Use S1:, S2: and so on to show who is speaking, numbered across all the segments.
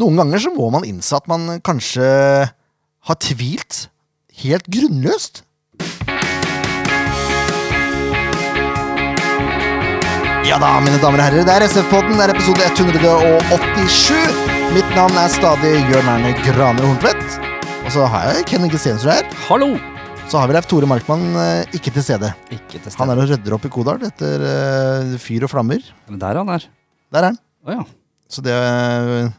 S1: Noen ganger så må man innse at man kanskje har tvilt helt grunnløst. Ja da, mine damer og herrer, det er SF-podden. Det er episode 187. Mitt navn er stadig Jørn Erne Grane Horntvedt. Og så har jeg Ken Inge Stensrud her.
S2: Hallo!
S1: Så har vi Leif Tore Markmann eh, ikke til stede.
S2: Ikke til
S1: Han
S2: stede.
S1: er og rydder opp i Kodal etter eh, fyr og flammer.
S2: Men der han er.
S1: Der er han.
S2: Å ja.
S1: Så det er eh,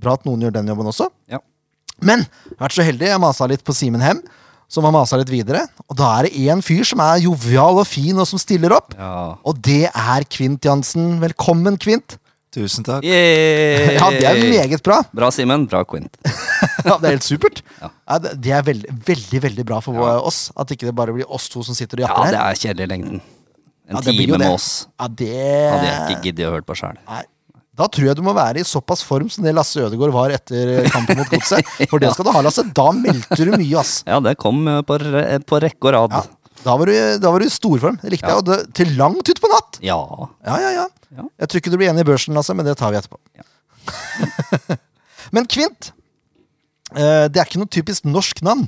S1: bra at noen gjør den jobben også.
S2: Ja.
S1: Men jeg har vært så heldig, jeg masa litt på Simen Hem, som har masa litt videre. Og da er det én fyr som er jovial og fin, og som stiller opp.
S2: ja.
S1: Og det er Kvint Jansen. Velkommen, Kvint.
S3: Tusen takk.
S2: Yay!
S1: Ja, det er meget bra.
S2: Bra, Simen. Bra, Quint.
S1: Ja, det er helt supert.
S2: Ja.
S1: Ja, det det er veldig, veldig veldig bra for
S2: Ja.
S1: oss. At ikke det bare blir oss to som sitter og
S2: Ja,
S1: jatter
S2: det
S1: her.
S2: er kjedelig i lengden. En
S1: Ja, det blir jo
S2: time med
S1: det.
S2: oss
S1: Ja, det
S2: hadde jeg ikke giddet å høre på sjæl.
S1: Nei. Da tror jeg du må være i såpass form som det Lasse Ødegaard var etter kampen mot Godset. For det skal du ha, Lasse. Da meldte du mye, ass.
S2: Ja, det kom eh, på, re på rekke og rad.
S1: Ja, da var du, da var du i storform. Det likte
S2: Ja.
S1: jeg. Og det, til langt utpå natt.
S2: Ja.
S1: Ja, ja, ja.
S2: Ja.
S1: Jeg tror ikke du blir enig i børsen, Lasse, men det tar vi etterpå. men Kvint, eh, det er ikke noe typisk norsk navn.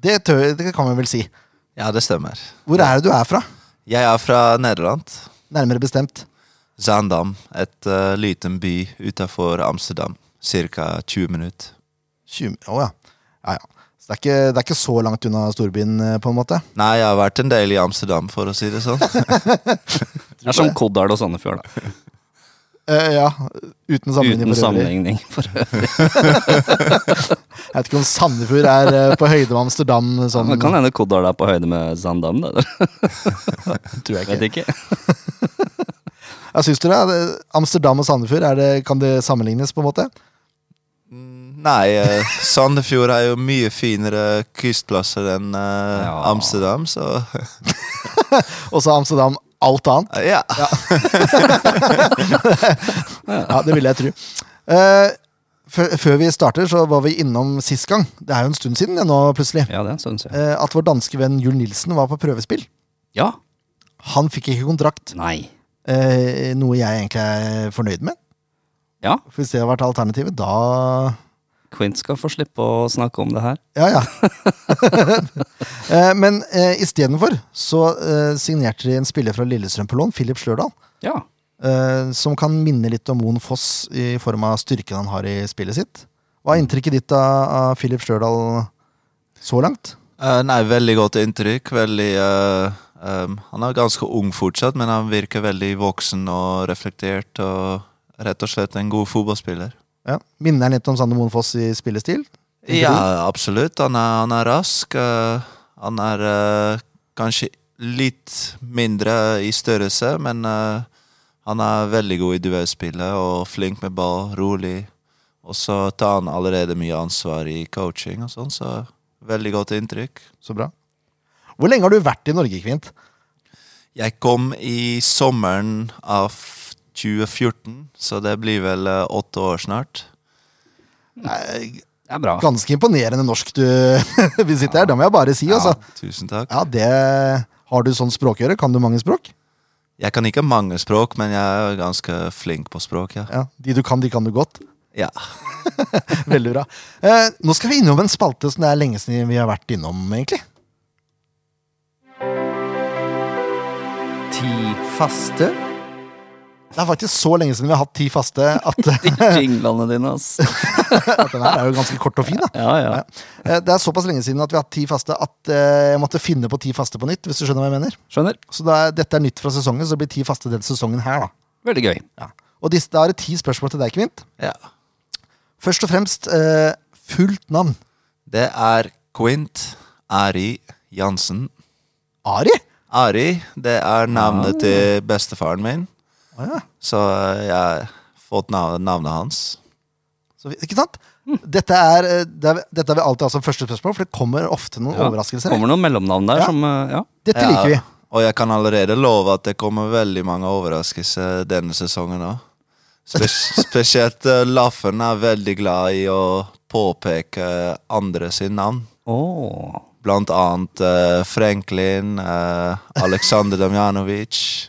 S1: Det, tør, det kan vi vel si.
S3: Ja, det stemmer.
S1: Hvor er det du er fra?
S3: Jeg er fra Nederland.
S1: Nærmere bestemt.
S3: Zaandam, et eh, liten by utenfor Amsterdam. Cirka 20 minutter.
S1: 20, å ja. Ja, ja. Så det er, ikke, det er ikke så langt unna storbyen, eh, på en måte.
S3: Nei, jeg har vært en del i Amsterdam, for å si det sånn.
S2: Det er som Koddal og Sandefjord, da.
S1: Eh, ja, uten sammenligning.
S2: Uten
S1: for øvrig.
S2: sammenligning. For øvrig.
S1: Jeg vet ikke om Sandefjord er eh, på høyde med Amsterdam. Sånn.
S2: Det kan hende Koddal er på høyde med Zandam, da. Tror jeg Vet ikke.
S1: Jeg synes dere, er det- Amsterdam og Sandefjord, er det, kan det sammenlignes, på en måte?
S3: Mm, Nei, eh, Sandefjord er jo mye finere kystplasser enn eh,
S2: Ja.
S3: Amsterdam, så
S1: Og så er Amsterdam alt annet.
S3: eh, ja.
S1: Ja, det ville jeg tro. Eh, før- før vi starter, så var vi innom sist gang. Det er jo en stund siden det nå, plutselig.
S2: Ja, det er en stund siden.
S1: Eh, at vår danske venn Jul Nilsen var på prøvespill.
S2: Ja.
S1: Han fikk ikke kontrakt,
S2: Nei.
S1: eh, noe jeg egentlig er fornøyd med.
S2: Ja.
S1: For hvis det hadde vært alternativet, da
S2: Quint skal få slippe å snakke om det her.
S1: Ja, ja. eh, men eh, istedenfor så eh, signerte de en spiller fra Lillestrøm på lån, Philip Slørdal.
S2: Ja.
S1: eh, som kan minne litt om Moen Foss i form av styrken han har i spillet sitt. Hva er inntrykket ditt av, av Philip Stjørdal så langt?
S3: Eh, nei, veldig godt inntrykk. Veldig eh, em, Han er ganske ung fortsatt, men han virker veldig voksen og reflektert. Og rett og slett en god fotballspiller.
S1: Ja. Minner han litt om Sander Moen Foss i spillestil? Tenker
S3: Ja, absolutt. Han er, han er rask. eh, han er eh, kanskje litt mindre i størrelse, men eh, han er veldig god i duellspillet og flink med ball, rolig. Og så tar han allerede mye ansvar i coaching og sånn, så veldig godt inntrykk.
S1: Så bra. Hvor lenge har du vært i Norge, Kvint?
S3: Jeg kom i sommeren av 2014, så det blir vel eh, åtte år snart.
S2: Det er bra.
S1: Ganske imponerende norsk du besitter her, det må jeg bare si. Ja. Altså.
S3: Tusen takk.
S1: Ja, det har du sånn språkøre? Kan du mange språk?
S3: Jeg kan ikke mange språk, men jeg er ganske flink på språk, ja.
S1: Ja, De du kan, de kan du godt.
S3: ja.
S1: Veldig bra. Eh, nå skal vi innom en spalte som det er lenge siden vi har vært innom, egentlig.
S2: Ti faste?
S1: Det er faktisk så lenge siden vi har hatt ti faste at,
S2: De jinglene dine, ass.
S1: at den her er jo ganske kort og fin. da.
S2: Ja, ja.
S1: Eh, Det er såpass lenge siden at vi har hatt ti faste at eh, jeg måtte finne på ti faste på nytt. hvis du skjønner hva jeg mener.
S2: Skjønner.
S1: Så da, er- dette er nytt fra sesongen, så det blir ti faste den sesongen her. da.
S2: Veldig gøy.
S1: Og disse, Da er det ti spørsmål til deg, Kvint.
S3: ja.
S1: Først og fremst eh, fullt navn.
S3: Det er Quint Ari Jansen.
S1: Ari?
S3: Ari, det er navnet til bestefaren min,
S1: Ah. Å ja.
S3: så eh, jeg har fått navnet, navnet hans.
S1: Så, vi- ikke sant? Dette, er, eh, det er, dette har vi alltid hatt som første spørsmål, for det kommer ofte noen
S2: Ja.
S1: overraskelser.
S2: Kommer noen mellomnavn der
S1: Ja.
S2: som eh, Ja.
S1: Dette
S3: Ja,
S1: liker vi.
S3: Og jeg kan allerede love at det kommer veldig mange overraskelser denne sesongen òg. spesielt eh, Laffen er veldig glad i å påpeke andre sin navn.
S2: Åh.
S3: Blant annet eh, Franklin, eh, Aleksandr Damjanovic.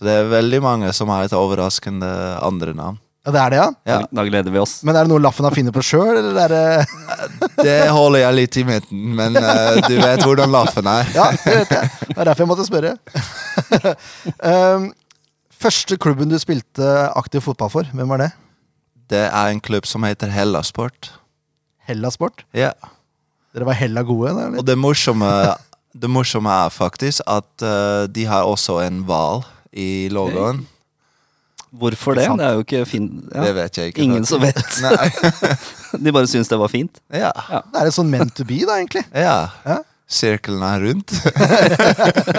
S3: Så det er veldig mange som har et overraskende andre navn.
S1: Ja, Ja, det er det, ja?
S3: Ja.
S2: Da gleder vi oss.
S1: Men er det noe Laffen har funnet på sjøl, eller er det
S3: Det holder jeg litt i midten, men eh, du vet hvordan laffen er.
S1: Ja, det vet jeg. Det er derfor jeg måtte spørre. um, første klubben du spilte aktiv fotball for, hvem var det?
S3: Det er en klubb som heter Hellasport.
S1: Hella Sport?
S3: Ja.
S1: Dere var hella gode? da, eller?
S3: Og det morsomme, det morsomme er faktisk at eh, de har også en hval i logoen.
S2: Hvorfor det? Det er jo ikke fint ja.
S3: Det vet jeg ikke.
S2: Ingen som vet.
S3: Nei.
S2: De bare syns det var fint.
S3: Ja.
S1: Det er et sånn meant to be, da, egentlig.
S3: ja.
S1: Ja.
S3: Sirkelen er rundt.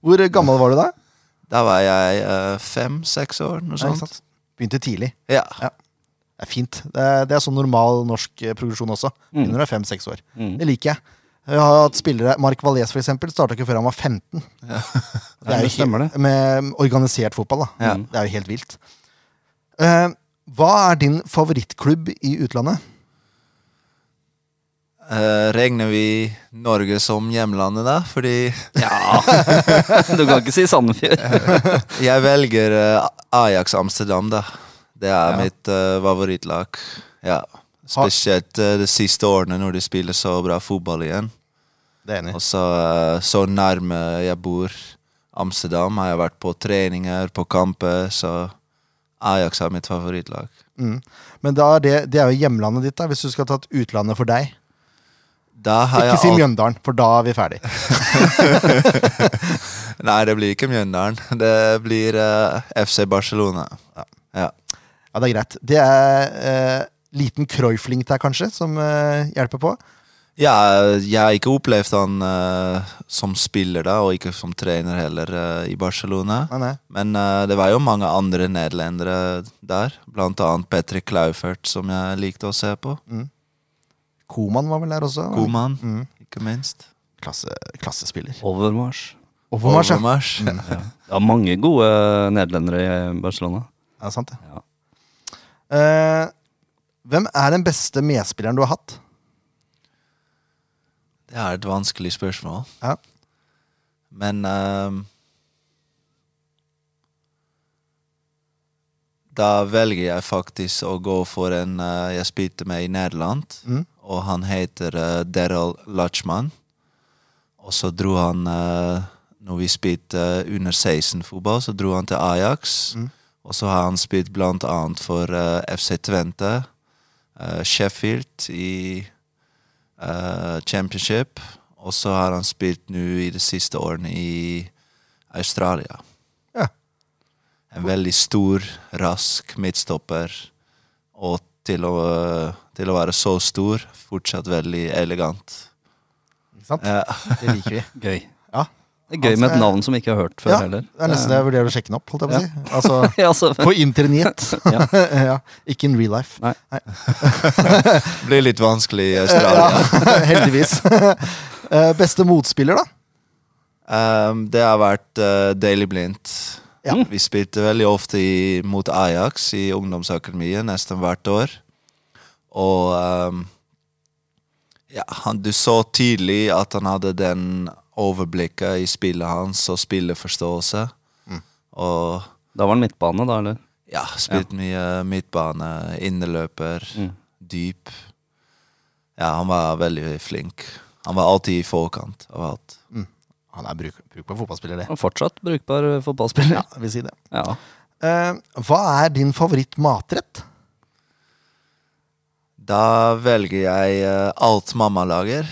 S1: Hvor gammel var du da?
S3: Da var jeg fem-seks år, noe
S1: Nei, ikke
S3: sånt.
S1: sant? Begynte tidlig.
S3: Ja.
S1: Det er fint. Det er, det er sånn normal norsk eh, progresjon også.
S2: Mm.
S1: Begynner når du er fem-seks år. Det liker jeg. Jeg har hatt spillere, Mark Valles for eksempel, starta ikke før han var 15.
S2: Ja, det
S1: jo
S2: stemmer
S1: helt-
S2: det.
S1: Med organisert fotball, da.
S3: Ja.
S1: Det er jo helt vilt. Eh, hva er din favorittklubb i utlandet?
S3: Eh, regner vi Norge som hjemlandet, da? Fordi
S2: Ja! Du kan ikke si Sandefjord.
S3: jeg velger eh, Ajax Amsterdam, da. Det er mitt eh, favorittlag. Ja. Spesielt eh, de siste årene, når de spiller så bra fotball igjen.
S1: Det er enig.
S3: Og så, eh, så nærme jeg bor Amsterdam, har jeg vært på treninger, på kamper, så Ajax er mitt favorittlag.
S1: Mm. Men da er det, det er jo hjemlandet ditt, da, hvis du skal ta et utlandet for deg.
S3: Da har
S1: Ikke
S3: jeg
S1: si
S3: alt-
S1: Mjøndalen, for da er vi ferdig.
S3: Nei, det blir ikke Mjøndalen. Det blir eh, FC Barcelona. Ja.
S1: Ja, det er greit. Det er eh, liten Croyflink der, kanskje, som eh, hjelper på.
S3: Ja, jeg har ikke opplevd han eh, som spiller da, og ikke som trener heller eh, i Barcelona.
S1: Nei, nei.
S3: Men eh, det var jo mange andre nederlendere der, blant annet Petri Klaufert, som jeg likte å se på.
S1: Koman var vel der også? var han
S3: God mann,
S1: Mm.
S3: ikke minst.
S1: Klasse, klassespiller.
S2: Overmarsj.
S1: Overmarsj, ja.
S3: Overmars.
S2: Ja, mange gode nederlendere i Barcelona.
S1: ja sant, det.
S2: Ja.
S1: Eh, hvem er den beste medspilleren du har hatt?
S3: Det er et vanskelig spørsmål.
S1: Ja.
S3: Men ehm, Da velger jeg faktisk å gå for en eh, jeg spilte med i Nederland.
S1: Mm.
S3: Og han heter eh, Daryl Lutchman. Og så dro han eh, Når vi spilte eh, under 16-fotball, så dro han til Ajax.
S1: Mm.
S3: Og så har han spilt blant annet for eh, FC Twente, eh, Sheffield i eh, Championship. Og så har han spilt nå i de siste årene i Australia.
S1: Ja.
S3: En veldig stor, rask midtstopper. Og til å, til å være så stor, fortsatt veldig elegant.
S1: Ikke sant?
S3: Ja.
S1: Det liker vi.
S2: Gøy. Altså, eh,
S1: Ja.
S2: Det er gøy med et navn som jeg ikke har hørt før
S1: Ja,
S2: heller.
S1: det er nesten det jeg vurderer å sjekke den opp. holdt jeg på å si. Altså,
S2: Ja, altså,
S1: På internett.
S2: Ja.
S1: ja. Ikke in real life.
S2: Nei.
S3: Det blir litt vanskelig i Australia.
S1: Heldigvis. Eh, beste motspiller, da?
S3: Um, det har vært uh, Daily Blind.
S1: Ja.
S3: Vi spilte veldig ofte i, mot Ajax i ungdomsakademiet nesten hvert år. Og um, ja, han, du så tidlig at han hadde den overblikket i spillet hans og spilleforståelse. Og
S2: da var han midtbane, da, eller?
S3: ja, spilt mye midtbane, inneløper, dyp. Ja, han var veldig flink. Han var alltid i forkant av alt.
S1: Han er bruk, brukbar fotballspiller, det.
S2: Han er fortsatt brukbar eh, fotballspiller.
S1: Ja, jeg vil si det.
S2: Ja.
S1: Eh, hva er din favorittmatrett?
S3: Da velger jeg eh, alt mamma lager.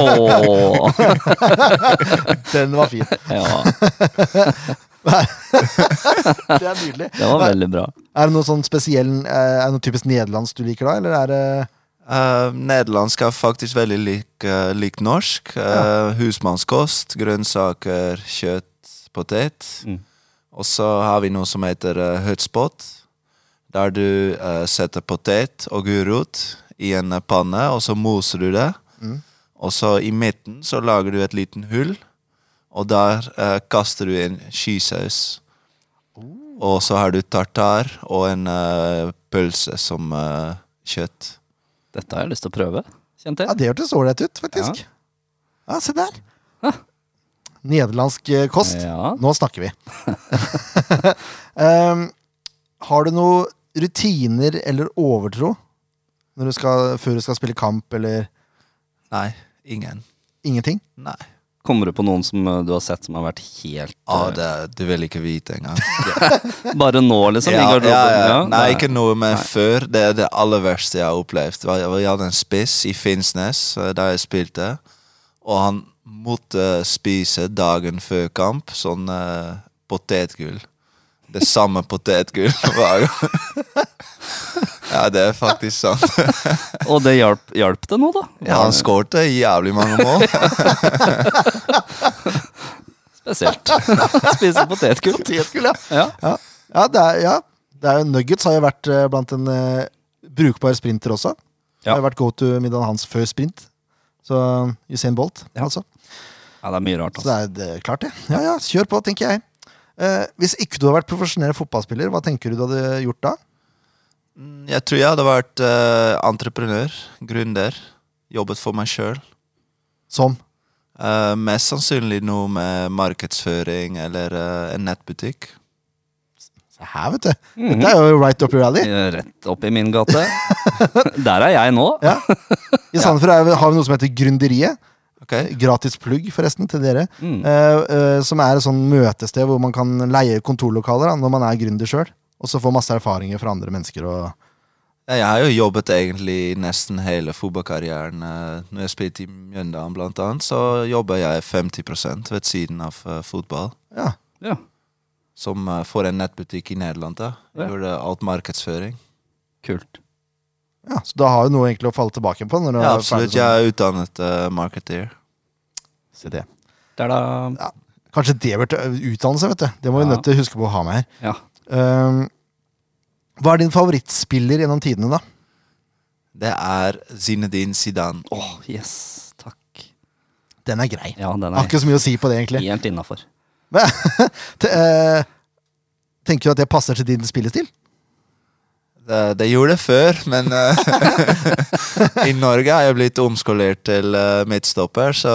S2: Åh,
S1: Den var fin.
S2: ja.
S1: Det er nydelig.
S2: Det var veldig bra.
S1: Er det noe sånn spesiell eh, Er det noe typisk nederlandsk du liker, da? Eller er det
S3: Eh, nederlandsk er faktisk veldig lik, eh, lik norsk. Eh, husmannskost, grønnsaker, kjøtt, potet.
S2: Mm.
S3: Og så har vi noe som heter uh, hutspot, der du eh, setter potet og gulrot i en eh, panne, og så moser du det. Og så i midten så lager du et liten hull, og der eh, kaster du inn skysaus. Og så har du tartar og en eh, pølse som eh, kjøtt.
S2: Dette har jeg lyst til å prøve, kjente
S1: Ja,
S2: jeg.
S1: det hørtes ålreit ut, faktisk. Ja, se der. Nederlandsk eh, kost.
S2: Ja.
S1: Nå snakker vi. um, Har du noen rutiner eller overtro når du skal, før du skal spille kamp, eller
S3: Nei, ingen.
S1: ingenting?
S3: Nei.
S2: Kommer du på noen som eh, du har sett som har vært helt
S3: Ah,
S2: eh,
S3: det, du vil ikke vite engang.
S2: Bare nå, liksom? i garderoben? Ja,
S3: Nei,
S2: det-
S3: ikke noe, men før. Det er det aller verste jeg har opplevd. Vi- Vi hadde en spiss i Finnsnes, eh, der jeg spilte, og han måtte spise dagen før kamp sånn eh, potetgull. Det samme potetgull hver gang. ja, det er faktisk sant.
S2: Og det hjalp, hjalp det nå, da?
S3: Ja, han skårte jævlig mange mål.
S2: Spesielt. Spise potetgull.
S1: Potetgull, ja.
S2: Ja.
S1: Ja, ja, det er, ja. Det er jo Nuggets har jo vært eh, blant en eh, brukbar sprinter også. Det
S2: Ja.
S1: har jo vært go to-middagen hans før sprint. Så Usain Bolt, altså.
S2: ja, det er mye rart.
S1: Så det
S2: Altså.
S1: er, det er klart, det. Ja ja, kjør på, tenker jeg. Eh, hvis ikke du hadde vært profesjonell fotballspiller, hva tenker du du hadde gjort da?
S3: Mm, Jeg tror jeg hadde vært eh, entreprenør, gründer, jobbet for meg sjøl.
S1: Som?
S3: Eh, mest sannsynlig noe med markedsføring eller eh, en nettbutikk.
S1: Se her, vet du.
S2: Mhm.
S1: Dette er jo right up your alley.
S2: Eh, altså. Mm. Rett opp i min gate. Der er jeg nå.
S1: Ja. I Sandefjord er vi- har vi noe som heter Gründeriet.
S3: Ok?
S1: Gratis plugg, forresten, til dere.
S2: Mm.
S1: Eh, eh, som er et sånn møtested hvor man kan leie kontorlokaler da, når man er gründer sjøl. Og så få masse erfaringer fra andre mennesker. Og
S3: Ja, Jeg har jo jobbet egentlig nesten hele fotballkarrieren. eh, Når jeg spilte i Mjøndalen blant annet, så jobber jeg 50 ved siden av eh, fotball.
S1: ja,
S2: Ja,
S3: Som eh, for en nettbutikk i Nederland. da. Jeg
S2: Ja.
S3: Gjorde alt markedsføring.
S2: kult.
S1: ja. Så da har jo noe egentlig å falle tilbake på. Når du
S3: Ja,
S1: er ferdig sånn.
S3: absolutt. Jeg er utdannet uh, marketeer.
S1: som- Se det.
S2: Der da.
S1: Kanskje det burde utdannelse, vet du. Det må vi
S2: Ja.
S1: nødt til å huske på å ha med her.
S2: Ja.
S1: Ehm, hva er din favorittspiller gjennom tidene, da?
S3: Det er Zinedine Zidane.
S2: Åh, yes. Takk.
S1: Den er grei.
S2: Ja, den
S1: Har
S2: er
S1: ikke så mye å si på det, egentlig.
S2: helt innafor.
S1: Men, te, eh, tenker du at det passer til din spillestil?
S3: Det, det gjorde det før, men eh, i Norge er jeg blitt omskolert til eh, midtstopper, så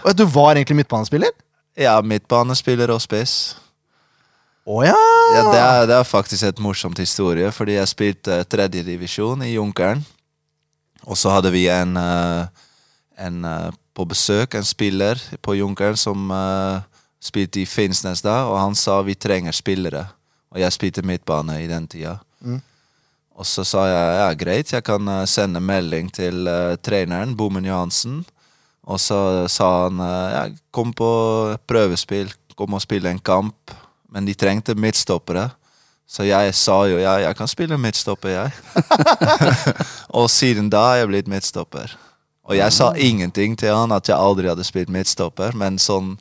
S1: Og at du var egentlig midtbanespiller?
S3: eh, ja, midtbanespiller og spiss.
S1: Å ja!
S3: Ja, det, er, det er faktisk et morsomt historie, fordi jeg spilte tredjedivisjon i Junkeren. Og så hadde vi en, eh, en eh, på besøk, en spiller på Junkeren som eh, spilte i Finnsnes da, og han sa vi trenger spillere. Og jeg spilte midtbane i den tida.
S1: Mm.
S3: Og så sa jeg ja, greit, jeg kan eh, sende melding til eh, treneren, Bommen Johansen. Og så sa han eh, ja, kom på prøvespill, kom og spille en kamp. Men de trengte midtstoppere. Så jeg sa jo ja, jeg kan spille midtstopper, jeg. og siden da er jeg blitt midtstopper. Og jeg sa ingenting til han at jeg aldri hadde spilt midtstopper, men sånn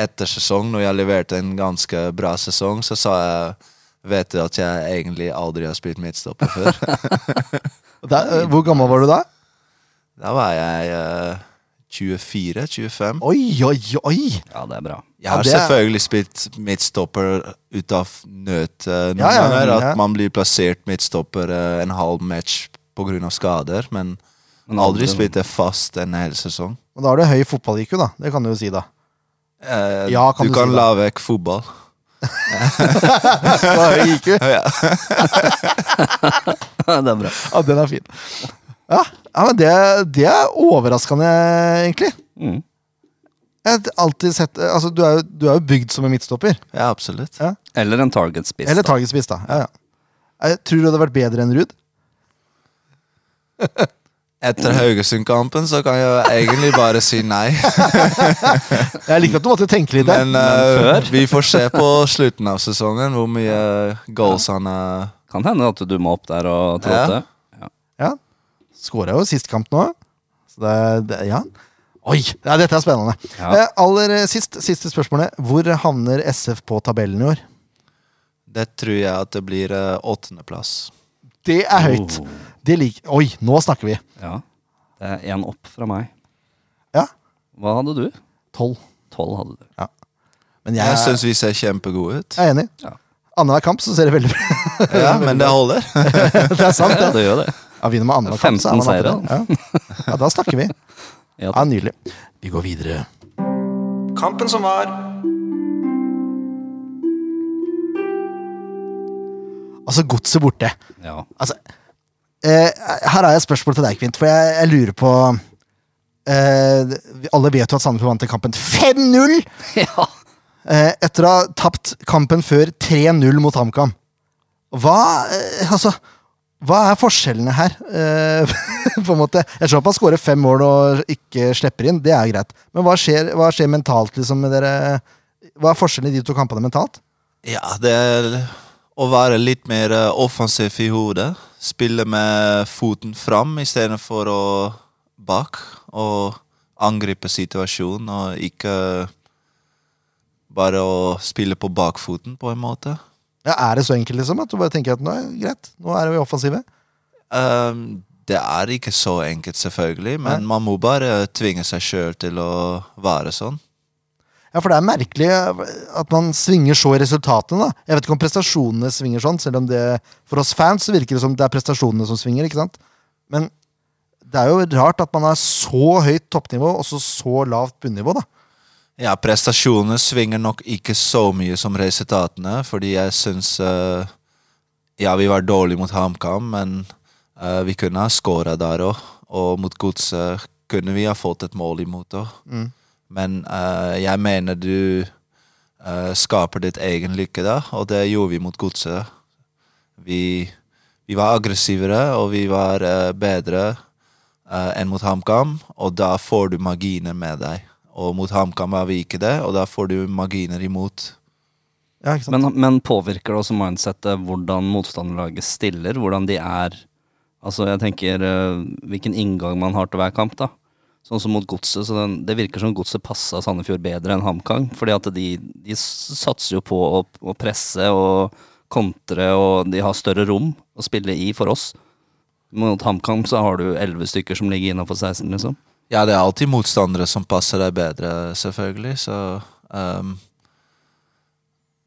S3: etter sesong, når jeg leverte en ganske bra sesong, så sa jeg Vet du at jeg egentlig aldri har spilt midtstopper før?
S1: Da- eh, hvor gammel var du da?
S3: da var eh, jeg 24-25.
S1: Oi, oi, oi!
S2: Ja, det er bra.
S3: Jeg har
S1: Ja, det er-
S3: selvfølgelig spilt midtstopper ut av nød eh, noen
S1: Ja, ja,
S3: ganger. At
S1: ja.
S3: man blir plassert midtstopper eh, en halv match pga. skader. Men,
S2: Men
S3: aldri
S2: aldri-
S3: spilt det fast en hel sesong.
S1: Og da har du høy fotball-IQ, da. Det kan du jo si, da.
S3: Eh,
S1: Ja, kan
S3: du,
S1: du si
S3: kan
S1: det.
S3: la vekk fotball.
S1: Du har høy IQ.
S3: Ja.
S2: det er bra.
S1: Ja, den er fin. Ja, ja men det, det er overraskende, egentlig.
S2: Mm.
S1: Jeg har alltid sett Altså, du er jo, du er jo bygd som en midtstopper.
S3: ja, absolutt.
S1: Ja.
S2: Eller en target-spiss.
S1: Eller
S2: da.
S1: targetspiss, da. Ja, ja. Jeg tror du hadde vært bedre enn Ruud.
S3: Etter Haugesund-kampen så kan jeg egentlig bare si nei.
S1: Jeg likte at du måtte tenke litt der.
S3: Men, eh,
S2: før?
S3: vi får se på slutten av sesongen hvor mye goals han eh, har.
S2: Kan hende at du må opp der og trå
S3: Ja.
S2: til.
S1: Ja. Skåra jo sist kamp nå. Så det, det Ja. Oi! Ja, dette er spennende.
S2: Ja.
S1: Eh, aller eh, sist, siste spørsmålet. Hvor havner SF på tabellen i år?
S3: Det tror jeg at det blir eh, åttendeplass.
S1: Det er høyt.
S2: Oh.
S1: Det lik Oi, nå snakker vi.
S2: Ja. Det er én opp fra meg.
S1: Ja.
S2: Hva hadde du?
S1: Tolv.
S2: Tolv hadde du.
S1: Men jeg,
S3: Jeg syns vi ser kjempegode ut.
S1: jeg er enig.
S2: Ja.
S1: Annenhver kamp så ser det veldig bra
S3: Ja, men det holder.
S1: Det er sant,
S2: Ja,
S1: det.
S2: det gjør det.
S1: Ja, vinner man annenhver kamp, så er man
S2: 15
S1: oppe der. Ja. ja, da snakker vi.
S2: Ja,
S1: Ja, Nydelig. Vi går videre.
S4: Kampen som var.
S1: Altså, godset borte.
S2: Ja.
S1: Altså, eh, her har jeg et spørsmål til deg, Kvint, for jeg, jeg lurer på eh, vi- Alle vet jo at Sandefjord vant den kampen 5-0
S2: ja.
S1: eh, etter å ha tapt kampen før 3-0 mot HamKam. Hva eh, Altså, hva er forskjellene her? Eh, på en måte. Jeg skjønner at man scorer fem mål og ikke slipper inn, det er greit. Men hva skjer, hva skjer mentalt, liksom, med dere? Hva er forskjellen i de to kampene mentalt?
S3: Ja, det er å være litt mer eh, offensiv i hodet. Spille med foten fram istedenfor å bak. Og angripe situasjonen, og ikke bare å spille på bakfoten, på en måte.
S1: Ja, er det så enkelt, liksom? At du bare tenker at nå er det greit, nå er vi offensive?
S3: Ehm, det er ikke så enkelt, selvfølgelig, men man må bare tvinge seg sjøl til å være sånn.
S1: Ja, for det er merkelig eh, at man svinger så i resultatene, da. Jeg vet ikke om prestasjonene svinger sånn, selv om det For oss fans så virker det som det er prestasjonene som svinger, ikke sant? Men det er jo rart at man har så høyt toppnivå og så så lavt bunnivå, da.
S3: Ja, prestasjonene svinger nok ikke så mye som resultatene, fordi jeg syns eh, Ja, vi var dårlige mot HamKam, men eh, vi kunne ha skåra der òg. Og mot Godset kunne vi ha fått et mål imot òg. Men eh, jeg mener du eh, skaper ditt egen lykke da, og det gjorde vi mot Godset. Vi, vi var aggressivere, og vi var eh, bedre eh, enn mot HamKam, og da får du marginer med deg. Og mot HamKam er vi ikke det, og da får du marginer imot.
S1: Ja, ikke sant?
S2: Men, men påvirker det også mindsettet hvordan motstanderlaget stiller? Hvordan de er Altså, jeg tenker eh, hvilken inngang man har til hver kamp, da. Sånn som mot Godset. så den- Det virker som Godset passa Sandefjord bedre enn HamKam. Fordi at de, de s- satser jo på å, å presse og kontre, og de har større rom å spille i for oss. Mot HamKam så har du elleve stykker som ligger innafor 16, liksom.
S3: Ja, det er alltid motstandere som passer deg bedre, selvfølgelig, så ehm,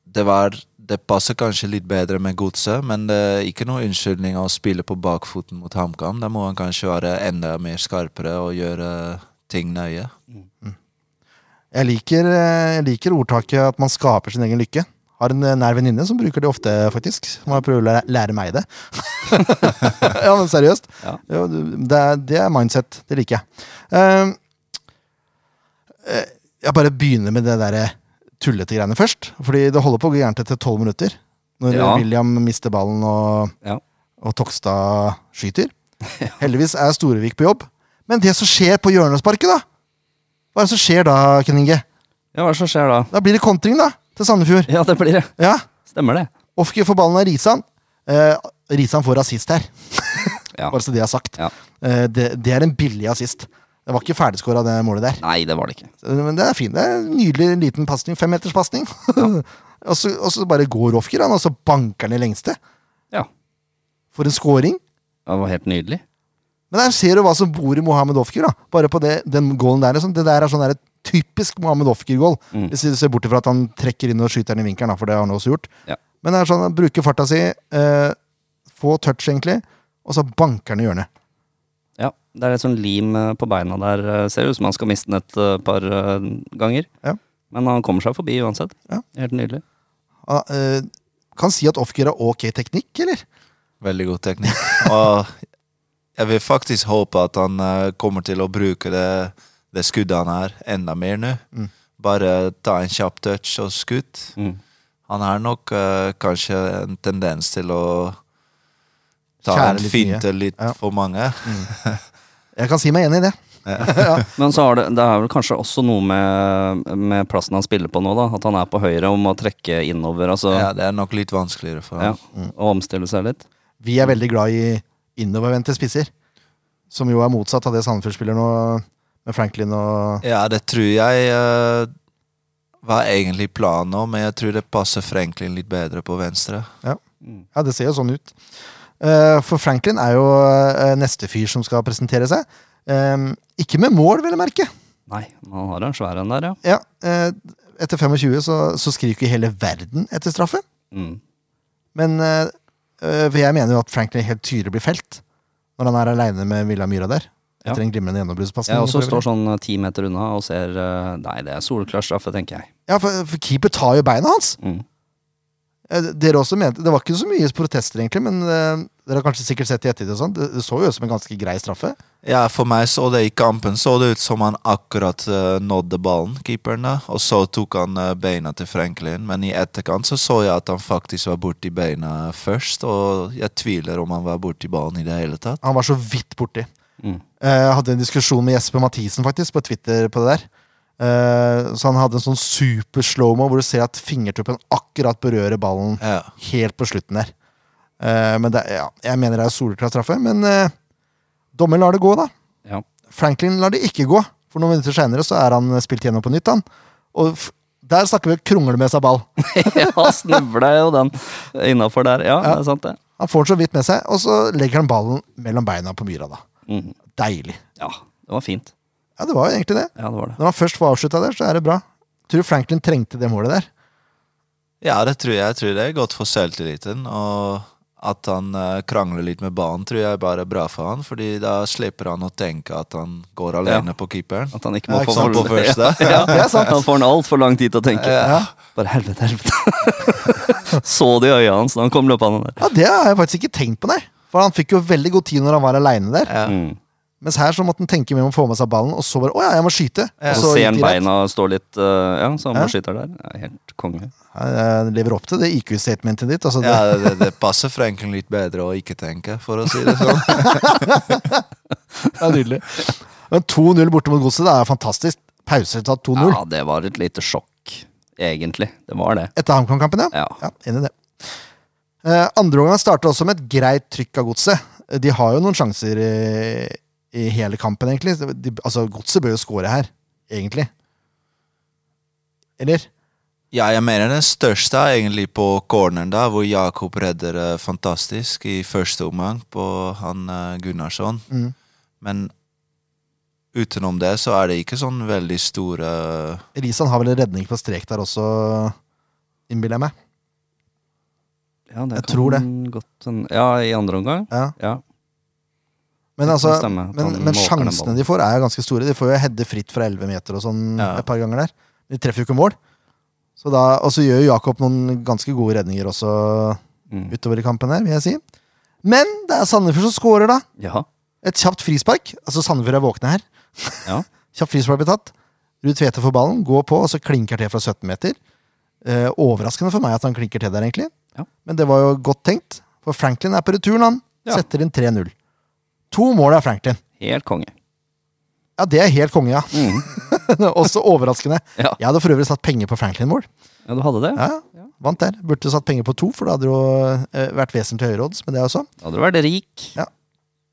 S3: Det var Det passer kanskje litt bedre med godset, men det er ikke noe unnskyldning å spille på bakfoten mot HamKam. Da må han kanskje være enda mer skarpere og gjøre ting nøye.
S1: Jeg liker, eh, jeg liker ordtaket at man skaper sin egen lykke. Har en eh, nær venninne som bruker det ofte, faktisk. Som har prøvd å lære, lære meg det. ja, men seriøst.
S2: Ja.
S1: Jo, du- det, er, det er mindset. Det liker jeg. Ehm, eh, jeg bare begynner med det derre tullete greiene først. Fordi det holder på å gå gærent etter tolv minutter. Når
S2: Ja.
S1: William mister ballen og
S2: Ja.
S1: og Tokstad skyter. Heldigvis er Storevik på jobb. Men det som skjer på hjørnesparket, da? Hva er det som skjer da, Ken Inge?
S2: Ja, hva er det som skjer da?
S1: Da blir det kontring, da, til Sandefjord.
S2: Ja, det blir det.
S1: Ja,
S2: Stemmer det.
S1: Ofke får ballen av Risan. Eh, Risan får assist her,
S2: Ja.
S1: bare så det er sagt.
S2: ja.
S1: Eh, det, det er en billig assist. Det var ikke ferdigskåra, det målet der.
S2: Nei, det var det ikke.
S1: Eh, Men det er fint. Det er en Nydelig liten pasning. Femmeterspasning. og, så- og så bare går Ofker, han, og så banker han i lengste.
S2: Ja.
S1: For en scoring.
S2: Det var helt nydelig.
S1: Men der ser du hva som bor i Mohammed Ofker. da. Bare på det, den goalen der. Liksom. Det der er sånn der, et typisk Mohammed Ofker-goal.
S2: Mm.
S1: Hvis du ser bort fra at han trekker inn og skyter den i vinkelen, da, for det har han også gjort.
S2: Ja.
S1: Men det er sånn, han bruker farta si, eh, få touch egentlig, og så banker han i hjørnet.
S2: Ja, det er litt sånn lim eh, på beina der. eh, Ser ut som han skal miste den et eh, par eh, ganger.
S1: Ja.
S2: Men han kommer seg forbi uansett.
S1: Ja.
S2: Helt nydelig.
S1: Ah, eh, kan si at Ofker har ok teknikk, eller?
S3: Veldig god teknikk. Og jeg vil faktisk håpe at han eh, kommer til å bruke det, det skuddet han har, enda mer nå.
S1: Mm.
S3: Bare ta en kjapp touch og skudd.
S2: Mm.
S3: Han har nok eh, kanskje en tendens til å ta
S1: Kjære
S3: en
S1: litt
S3: finte litt
S1: Ja.
S3: for mange.
S1: Jeg kan si meg enig i det.
S2: Men så er det, det er vel kanskje også noe med, med plassen han spiller på nå, da. At han er på høyre og må trekke innover altså,
S3: Ja,
S2: ja.
S3: det er nok litt vanskeligere for ham.
S2: og omstille seg litt.
S1: Vi
S2: Mm.
S1: er veldig glad i innovervendte spisser, som jo er motsatt av det Sandefjord spiller nå, med Franklin og
S3: Ja, det tror jeg eh, var egentlig planen nå, men jeg tror det passer Franklin litt bedre på venstre.
S2: Mm.
S1: Ja, det ser jo sånn ut. Eh, for Franklin er jo eh, neste fyr som skal presentere seg. Eh, ikke med mål, vil jeg merke.
S2: Nei, men han har en svær en der, ja.
S1: Ja, eh, etter 25 så, så skriker hele verden etter straffe.
S2: Mm.
S1: Men eh, eh, for jeg mener jo at Franklin helt tydelig blir felt når han er aleine med Villa Myra der.
S2: Ja.
S1: Etter en glimrende gjennombruddspasning.
S2: Jeg
S1: for
S2: også
S1: øvrig.
S2: står sånn eh, ti meter unna og ser eh, Nei, det er soleklar straffe, tenker jeg.
S1: Ja, for, for keeper tar jo beina hans!
S2: Mm.
S1: Eh, Dere også mente, Det var ikke så mye protester, egentlig, men eh, dere har kanskje sikkert sett i ettertid. og sånt. Det, det så jo ut som en ganske grei straffe.
S3: Ja, for meg så det i kampen så det ut som han akkurat eh, nådde ballen, keeperen, da. Og så tok han eh, beina til Franklin, men i etterkant så så jeg at han faktisk var borti beina først, og jeg tviler om han var borti ballen i det hele tatt.
S1: Han var så vidt borti.
S2: Mm.
S1: Eh, hadde en diskusjon med Jesper Mathisen faktisk på Twitter på det der. Eh, så han hadde en sånn super slow-mo hvor du ser at fingertuppen akkurat berører ballen
S3: Ja.
S1: helt på slutten der. Eh, men det, er- ja, jeg mener det er soleklar straffe, men eh, dommer lar det gå, da.
S2: Ja.
S1: Franklin lar det ikke gå, for noen minutter seinere så er han spilt gjennom på nytt, han. Og f der snakker vi krongle med seg ball.
S2: ja, snubla jo den innafor der. Ja, det er sant, det.
S1: Han får den så vidt med seg, og så legger han ballen mellom beina på myra, da.
S2: Mhm.
S1: Deilig.
S2: Ja, det var fint.
S1: Ja, det var jo egentlig det.
S2: Ja, det var det.
S1: Når han først får avslutta der, så er det bra. Tror du Franklin trengte det målet der?
S3: Ja, det tror jeg. Jeg tror det er godt for selvtilliten. Og at han eh, krangler litt med banen, tror jeg bare er bra for han. Fordi da slipper han å tenke at han går alene på keeperen.
S2: At han ikke
S1: Ja,
S2: må
S1: ikke
S2: få
S3: sant, på første.
S2: Ja,
S1: Det er sant.
S2: Han får en altfor lang tid til å tenke.
S1: Ja.
S2: Bare helvete, helvete. Så det i øya hans da han kom løpende der.
S1: ja, det har jeg faktisk ikke tenkt på, nei. For han fikk jo veldig god tid når han var aleine der.
S3: Ja.
S2: Mm.
S1: Mens her så måtte han tenke mer om å få med seg ballen, og så bare Å ja, jeg må skyte.
S2: Og
S1: Og
S2: så ser
S1: gikk
S2: han
S1: det rett.
S2: beina stå litt eh, Ja, så
S1: Ja.
S2: han bare sitter der. Ja, helt konge.
S1: Ja, Jeg lever opp til det IQ-statementet ditt. Altså, det,
S3: Ja, det, det passer Franklin litt bedre å ikke tenke, for å si det sånn.
S1: er nydelig. Men 2-0 borte mot Godset, det er fantastisk. Pauseresultat 2-0
S2: Ja, det var et lite sjokk, egentlig. Det var det.
S1: etter HamKam-kampen, ja.
S2: Ja.
S1: ja. Enig i det. Eh, andre omgang starter også med et greit trykk av Godset. De har jo noen sjanser i, i hele kampen, egentlig. De, altså, Godset bør jo score her, egentlig. Eller?
S3: Ja, jeg mener den største er egentlig på corneren, da, hvor Jakob redder eh, fantastisk i første omgang på han eh, Gunnarsson.
S1: Mm.
S3: Men utenom det så er det ikke sånn veldig store
S1: Risan har vel en redning på strek der også, innbiller jeg meg.
S2: Ja, det
S1: Jeg tror det.
S2: kan Godt, en- ja, i andre omgang.
S1: Ja.
S2: Ja.
S1: Men,
S2: Det
S1: altså,
S2: kan stemme at
S1: men,
S2: han
S1: men
S2: måker den
S1: sjansene
S2: ballen.
S1: de får, er ganske store. De får jo heade fritt fra 11 meter og sånn
S3: Ja.
S1: et par ganger der. De treffer jo ikke mål. Så da, og så gjør jo Jakob noen ganske gode redninger også
S2: Mm.
S1: utover i kampen her, vil jeg si. Men det er Sandefjord som scorer, da.
S2: ja.
S1: Et kjapt frispark. Altså, Sandefjord er våkne her.
S2: Ja.
S1: Kjapt frispark blir tatt. Ruud Tvete får ballen, går på, og så klinker til fra 17 meter. Eh, overraskende for meg at han klinker til der, egentlig.
S2: Ja.
S1: Men det var jo godt tenkt, for Franklin er på returen, han.
S2: Ja.
S1: Setter inn 3-0. To mål av Franklin.
S2: Helt konge.
S1: Ja, det er helt konge, ja.
S2: Mm.
S1: Også overraskende.
S2: Ja.
S1: Jeg hadde for øvrig satt penger på Franklin-mål.
S2: ja, du hadde det?
S1: Ja, vant der. Burde satt penger på to, for det hadde jo eh, vært vesentlig høyere odds med det også.
S2: Da hadde du vært rik.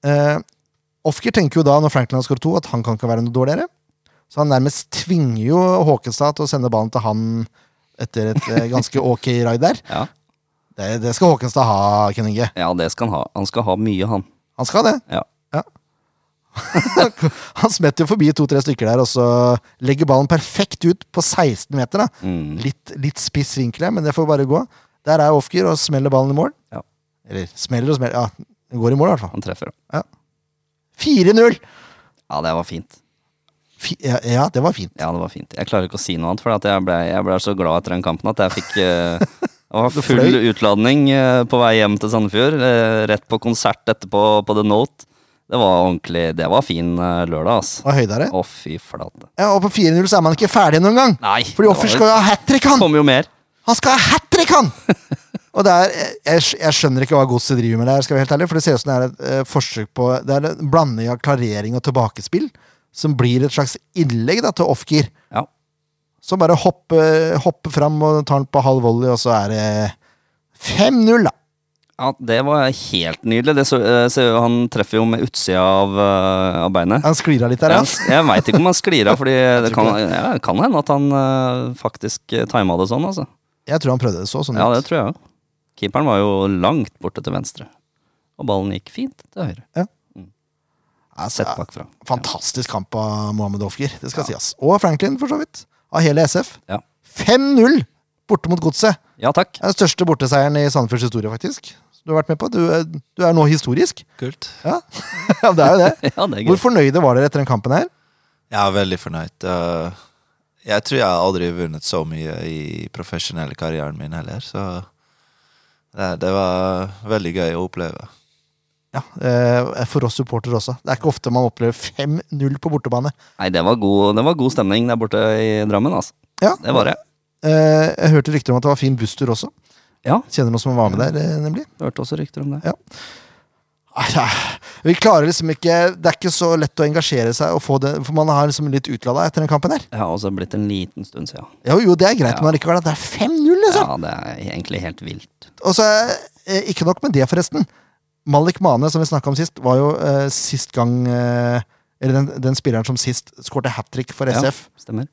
S1: Eh, Ofker tenker jo da, når Franklin har skåret to, at han kan ikke være noe dårligere. Så han nærmest tvinger jo Håkenstad til å sende ballen til han etter et eh, ganske ok raid der.
S2: Ja.
S1: Det, det skal Håkenstad ha, Ken Inge.
S2: ja, det skal han ha. Han skal ha mye, han.
S1: Han skal det.
S2: Ja.
S1: Han smetter jo forbi to-tre stykker der, og så legger ballen perfekt ut på 16 meter. da.
S2: Mm.
S1: Litt, litt spiss vinkel her, men det får bare gå. Der er Ofker og smeller ballen i mål.
S2: Ja.
S1: Eller smeller og smeller Ja, den går i mål, i hvert fall.
S2: Han treffer.
S1: 4-0!
S2: Ja, det var fint.
S1: Fi- Ja, ja, det var fint.
S2: Ja, det var fint. Jeg klarer ikke å si noe annet, for at jeg ble, jeg ble så glad etter den kampen at jeg fikk eh, det var full
S1: fløy?
S2: utladning eh, på vei hjem til Sandefjord. eh, rett på konsert etterpå på The Note. Det var ordentlig Det var fin eh, lørdag, ass. Å,
S1: Og høydere.
S2: fy flate.
S1: Ja, og på 4-0 så er man ikke ferdig noen gang.
S2: Nei.
S1: Fordi Offer skal jo ha hat trick,
S2: Det
S1: han!
S2: kom jo mer.
S1: Han skal ha hat trick, han! Og det er, jeg, jeg skjønner ikke hva godset driver med der, skal være helt ærlig, for det ser ut som det er et eh, forsøk på Det er en blanding av klarering og tilbakespill, som blir et slags innlegg da, til off-gear.
S2: Ja.
S1: Så bare hoppe, hoppe fram og ta den på halv volley, og så er det 5-0, da.
S2: Ja, det var helt nydelig. Det så, eh, ser jo- han treffer jo med utsida av, eh, av beinet.
S1: Han sklir av litt der, altså. ja.
S2: Jeg, jeg veit ikke om han sklir av, fordi det kan, ja, det kan hende at han eh, faktisk eh, tima det sånn, altså.
S1: Jeg tror han prøvde det så sånn
S2: Ja, det
S1: ut.
S2: tror jeg òg. Keeperen var jo langt borte til venstre. Og ballen gikk fint til høyre.
S1: Altså,
S2: Sett bakfra.
S1: fantastisk kamp av Mohammed Ofker, det skal sies. Og Franklin, for så vidt. Av hele SF.
S2: Ja.
S1: 5-0 borte mot Godset.
S2: Ja takk.
S1: Det er Den største borteseieren i Sandefjords historie, faktisk. Som Du har vært med på. Du, er- du er nå historisk.
S3: Kult.
S1: ja, det er jo det.
S2: Ja, det er
S1: Hvor
S2: gøy.
S1: fornøyde var dere etter den kampen her?
S3: Jeg er veldig fornøyd. Eh, Jeg tror jeg aldri har vunnet så mye i profesjonelle karrieren min heller, så Nei, det var veldig gøy å oppleve.
S1: Ja, eh, For oss supportere også. Det er ikke ofte man opplever 5-0 på bortebane.
S2: Nei, det var, god, det var god stemning der borte i Drammen, altså.
S1: Ja,
S2: Det var det.
S1: eh, Jeg hørte rykter om at det var fin busstur også.
S2: Ja.
S1: Kjenner noen som var med der, eh, nemlig.
S2: Hørte også rykter om det.
S1: Nei, det er- Vi klarer liksom ikke Det er ikke så lett å engasjere seg, og få det, for man har liksom litt utlada etter den kampen her.
S2: Det har også blitt en liten stund siden.
S1: Jo, jo, det er greit,
S2: Ja.
S1: men allikevel at det er 5-0, liksom!
S2: Ja, det er egentlig helt vilt.
S1: Og så, eh, ikke nok med det, forresten. Malik Mane, som vi snakka om sist, var jo eh, sist gang eh, Eller den, den spilleren som sist skårte hat trick for
S2: Ja.
S1: SF.
S2: Stemmer.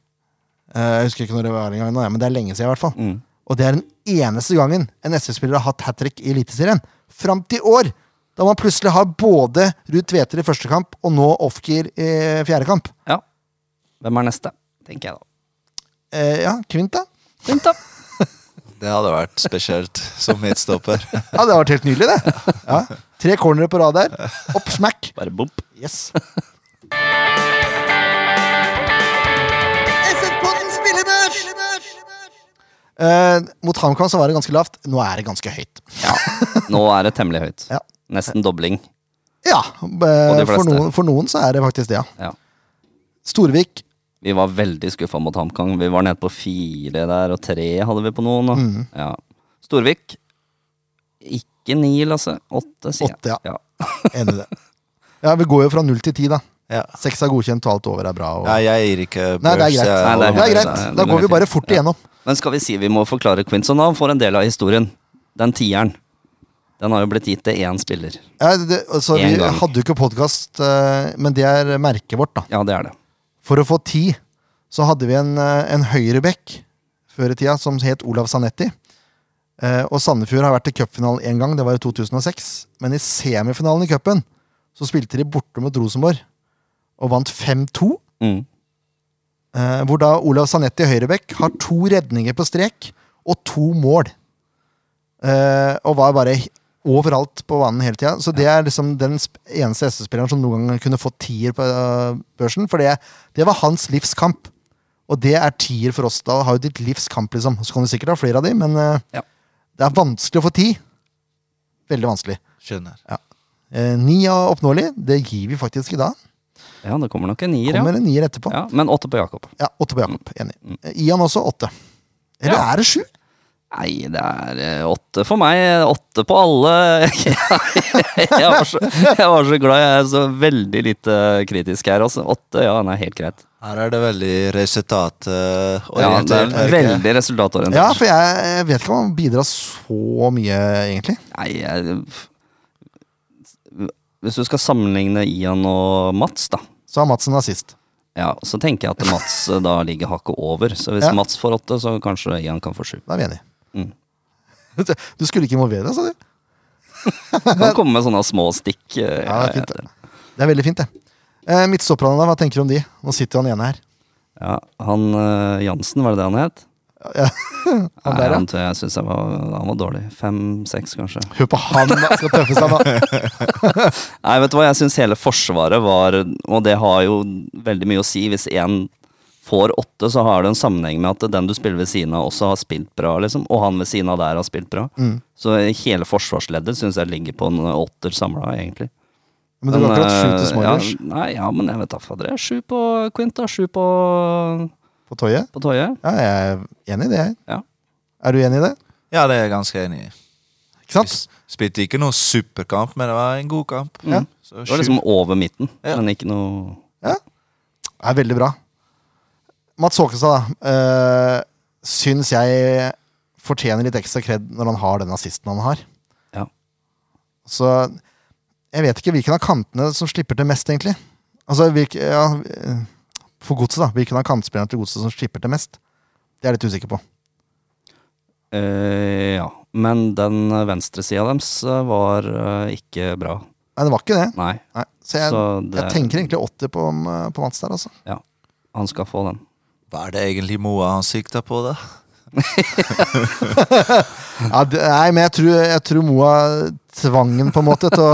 S1: Eh, jeg husker ikke når det var engang, nå, ja, men det er lenge siden, i hvert fall.
S2: Mm.
S1: Og det er den eneste gangen en SF-spiller har hatt hat trick i Eliteserien. Fram til i år! Da man plutselig har både Ruud Tveter i første kamp og nå Ofkir i eh, fjerde kamp.
S2: Ja. Hvem er neste? Tenker jeg da.
S1: Eh, ja, Kvint, da?
S2: Fint, da.
S3: Det hadde vært spesielt som midtstopper.
S1: Ja, det har vært helt nydelig, det. Ja. Tre cornere på rad der. Opp, smack.
S2: Bare bomp.
S1: Yes. Eh, mot HamKam så var det ganske lavt. Nå er det ganske høyt.
S2: Ja. Nå er det temmelig høyt.
S1: Ja.
S2: Nesten dobling.
S1: Ja, eh,
S2: de
S1: for,
S2: fleste.
S1: noen, for noen så er det faktisk det, ja.
S2: Ja.
S1: Storvik.
S2: Vi var veldig skuffa mot HamKong. Vi var nede på fire der, og tre hadde vi på noen. Og.
S1: Mm.
S2: Ja. Storvik. Ikke ni, Lasse. Åtte, sier
S1: Åtte, ja.
S2: jeg. Ja.
S1: Enig i det. Ja, Vi går jo fra null til ti, da.
S3: Ja.
S1: Seks er godkjent, og alt over er bra. Og...
S3: Nei, jeg gir ikke
S1: Nei, det er
S3: børs,
S1: greit.
S2: Nei,
S3: jeg
S1: Det
S3: holder
S1: er
S3: meg
S2: helt-
S1: greit.
S3: der.
S2: det er-
S1: Da
S2: det er
S1: går vi
S2: helt
S1: bare fort
S2: riktig. eh, Ja.
S1: igjennom.
S2: Men skal vi si vi må forklare Quinson? Han får en del av historien. Den tieren. Den har jo blitt gitt til én spiller.
S1: Ja, det, altså, vi
S2: En gang.
S1: hadde jo ikke podkast, men det er merket vårt, da.
S2: Ja, det er det.
S1: For å få ti, så hadde vi en, eh, en høyrebekk før i tida som het Olav Sanetti. Eh, og Sandefjord har vært i cupfinalen én gang, det var i 2006. Men i semifinalen i cupen så spilte de borte mot Rosenborg og vant 5-2.
S2: Mm.
S1: Eh, hvor da Olav Sanetti høyrebekk har to redninger på strek og to mål. Eh, og var bare he- overalt på banen hele tida. Så det er liksom den sp- eneste SS-spilleren som noen gang kunne få tier på eh, børsen. For det, det var hans livskamp. Og det er tier for oss. Da har jo ditt livs kamp, liksom. Så kan du sikkert ha flere av de, men eh,
S2: Ja.
S1: det er vanskelig å få ti. Veldig vanskelig.
S3: Skjønner.
S1: Eh, ni av oppnåelig, det gir vi faktisk i dag.
S2: Ja, det kommer nok en nier, ja.
S1: Kommer en nier etterpå.
S2: ja. Men åtte på Jakob.
S1: Ja, åtte på Jakob. Enig. Eh, Ian også åtte. Eller
S2: Ja.
S1: er det sju?
S2: Nei, det er eh, åtte for meg. Åtte på alle. Jeg var så, jeg var så glad. Jeg er så veldig lite kritisk her. Altså. Åtte, ja, nei, helt greit.
S3: Her er det veldig
S2: Ja, det
S3: resultatorientert.
S2: er
S3: er det ikke?
S2: veldig resultatorientert.
S1: Ja, for jeg, jeg vet ikke om han bidrar så mye, egentlig.
S2: Nei, jeg, hvis du skal sammenligne Ian og Mats, da.
S1: Så har Madsen nazist.
S2: Ja, så tenker jeg at Mats eh, da ligger hakket over. Så hvis
S1: Ja.
S2: Mats får åtte, så kanskje Ian kan få sju.
S1: Da er vi enige.
S2: Mm.
S1: Du skulle ikke involvere deg, sa du?
S2: Kan komme med sånne små stikk. eh,
S1: Ja, det er fint, det. Det er veldig fint, det. Eh, Midtstopperne, da, hva tenker du om de? Nå sitter jo han ene her.
S2: Ja, han eh, Jansen, var det det han het?
S1: Han
S2: Nei,
S1: der, ja.
S2: han, tror jeg synes jeg var, han var dårlig. Fem-seks, kanskje.
S1: Hør på han, da. Skal tøffe seg, da.
S2: Nei, vet du hva, jeg syns hele Forsvaret var Og det har jo veldig mye å si. Hvis én får åtte, så har det en sammenheng med at den du spiller ved siden av, også har spilt bra, liksom. Og han ved siden av der har spilt bra.
S1: Mm.
S2: Så hele forsvarsleddet syns jeg ligger på en åtter samla, egentlig.
S1: Men du har akkurat sju til
S2: eh,
S1: Smoilers
S2: Ja, nei, ja, men jeg vet da fader. jeg. Sju på Quint, da. Sju på,
S1: på Toye.
S2: på Toje.
S1: Ja, jeg er enig i det, jeg.
S2: Ja.
S1: Er du enig i det?
S3: Ja, det er jeg ganske enig i.
S1: Ikke sant?
S3: Vi spilte ikke noen superkamp, men det var en god kamp.
S2: Mm.
S3: Så
S2: Det var liksom over midten,
S3: Ja.
S2: men ikke noe
S1: er veldig bra. Mats Håkestad, da. Uh, syns jeg fortjener litt ekstra kred når han har den assisten han har.
S2: Ja.
S1: Så jeg vet ikke hvilken av kantene som slipper til mest, egentlig. Altså, hvilke, ja, eh, For godset, da. Hvilken av kantspillerne til godset som slipper til mest? Det er jeg litt usikker på.
S2: Eh, ja. Men den venstresida deres eh, var eh, ikke bra.
S1: Nei, det var ikke det.
S2: Nei.
S1: Nei. Så jeg,
S2: Så det-
S1: jeg tenker egentlig 80 på, eh, på Mats der, altså.
S2: Ja. Han skal få den.
S3: Hva er det egentlig Moa han sikta på, da?
S1: Ja, det, nei, men jeg tror, jeg tror Moa tvang den på en måte til å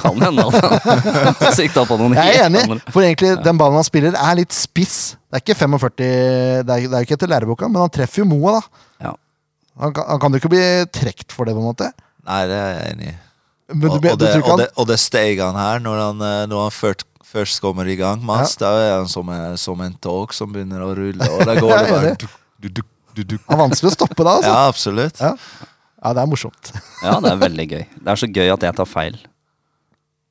S2: Kan hende at han sikta på noen
S1: Jeg er
S2: helt
S1: enig,
S2: andre.
S1: for egentlig den ballen han spiller, er litt spiss. Det er ikke 45 Det er, det er jo ikke etter lærebøkene, men han treffer jo Moa, da.
S2: Ja.
S1: Han kan, han kan jo ikke bli trukket for det, på en måte.
S3: Nei, det er jeg enig i.
S1: Men du,
S3: Og,
S1: men
S3: og,
S1: du
S3: det,
S1: tror ikke
S3: og,
S1: han
S3: det, og det steg han her når han, eh, når han ført, først kommer i gang. Mats, da er han som, eh, som en tog som begynner å rulle, og da går det bare
S1: Jeg er enig.
S3: duk, duk, duk, duk, duk.
S1: Det er vanskelig å stoppe da, altså.
S3: Ja, absolutt.
S1: Ja. Ja, det er morsomt.
S2: Ja, det er veldig gøy. Det er så gøy at jeg tar feil.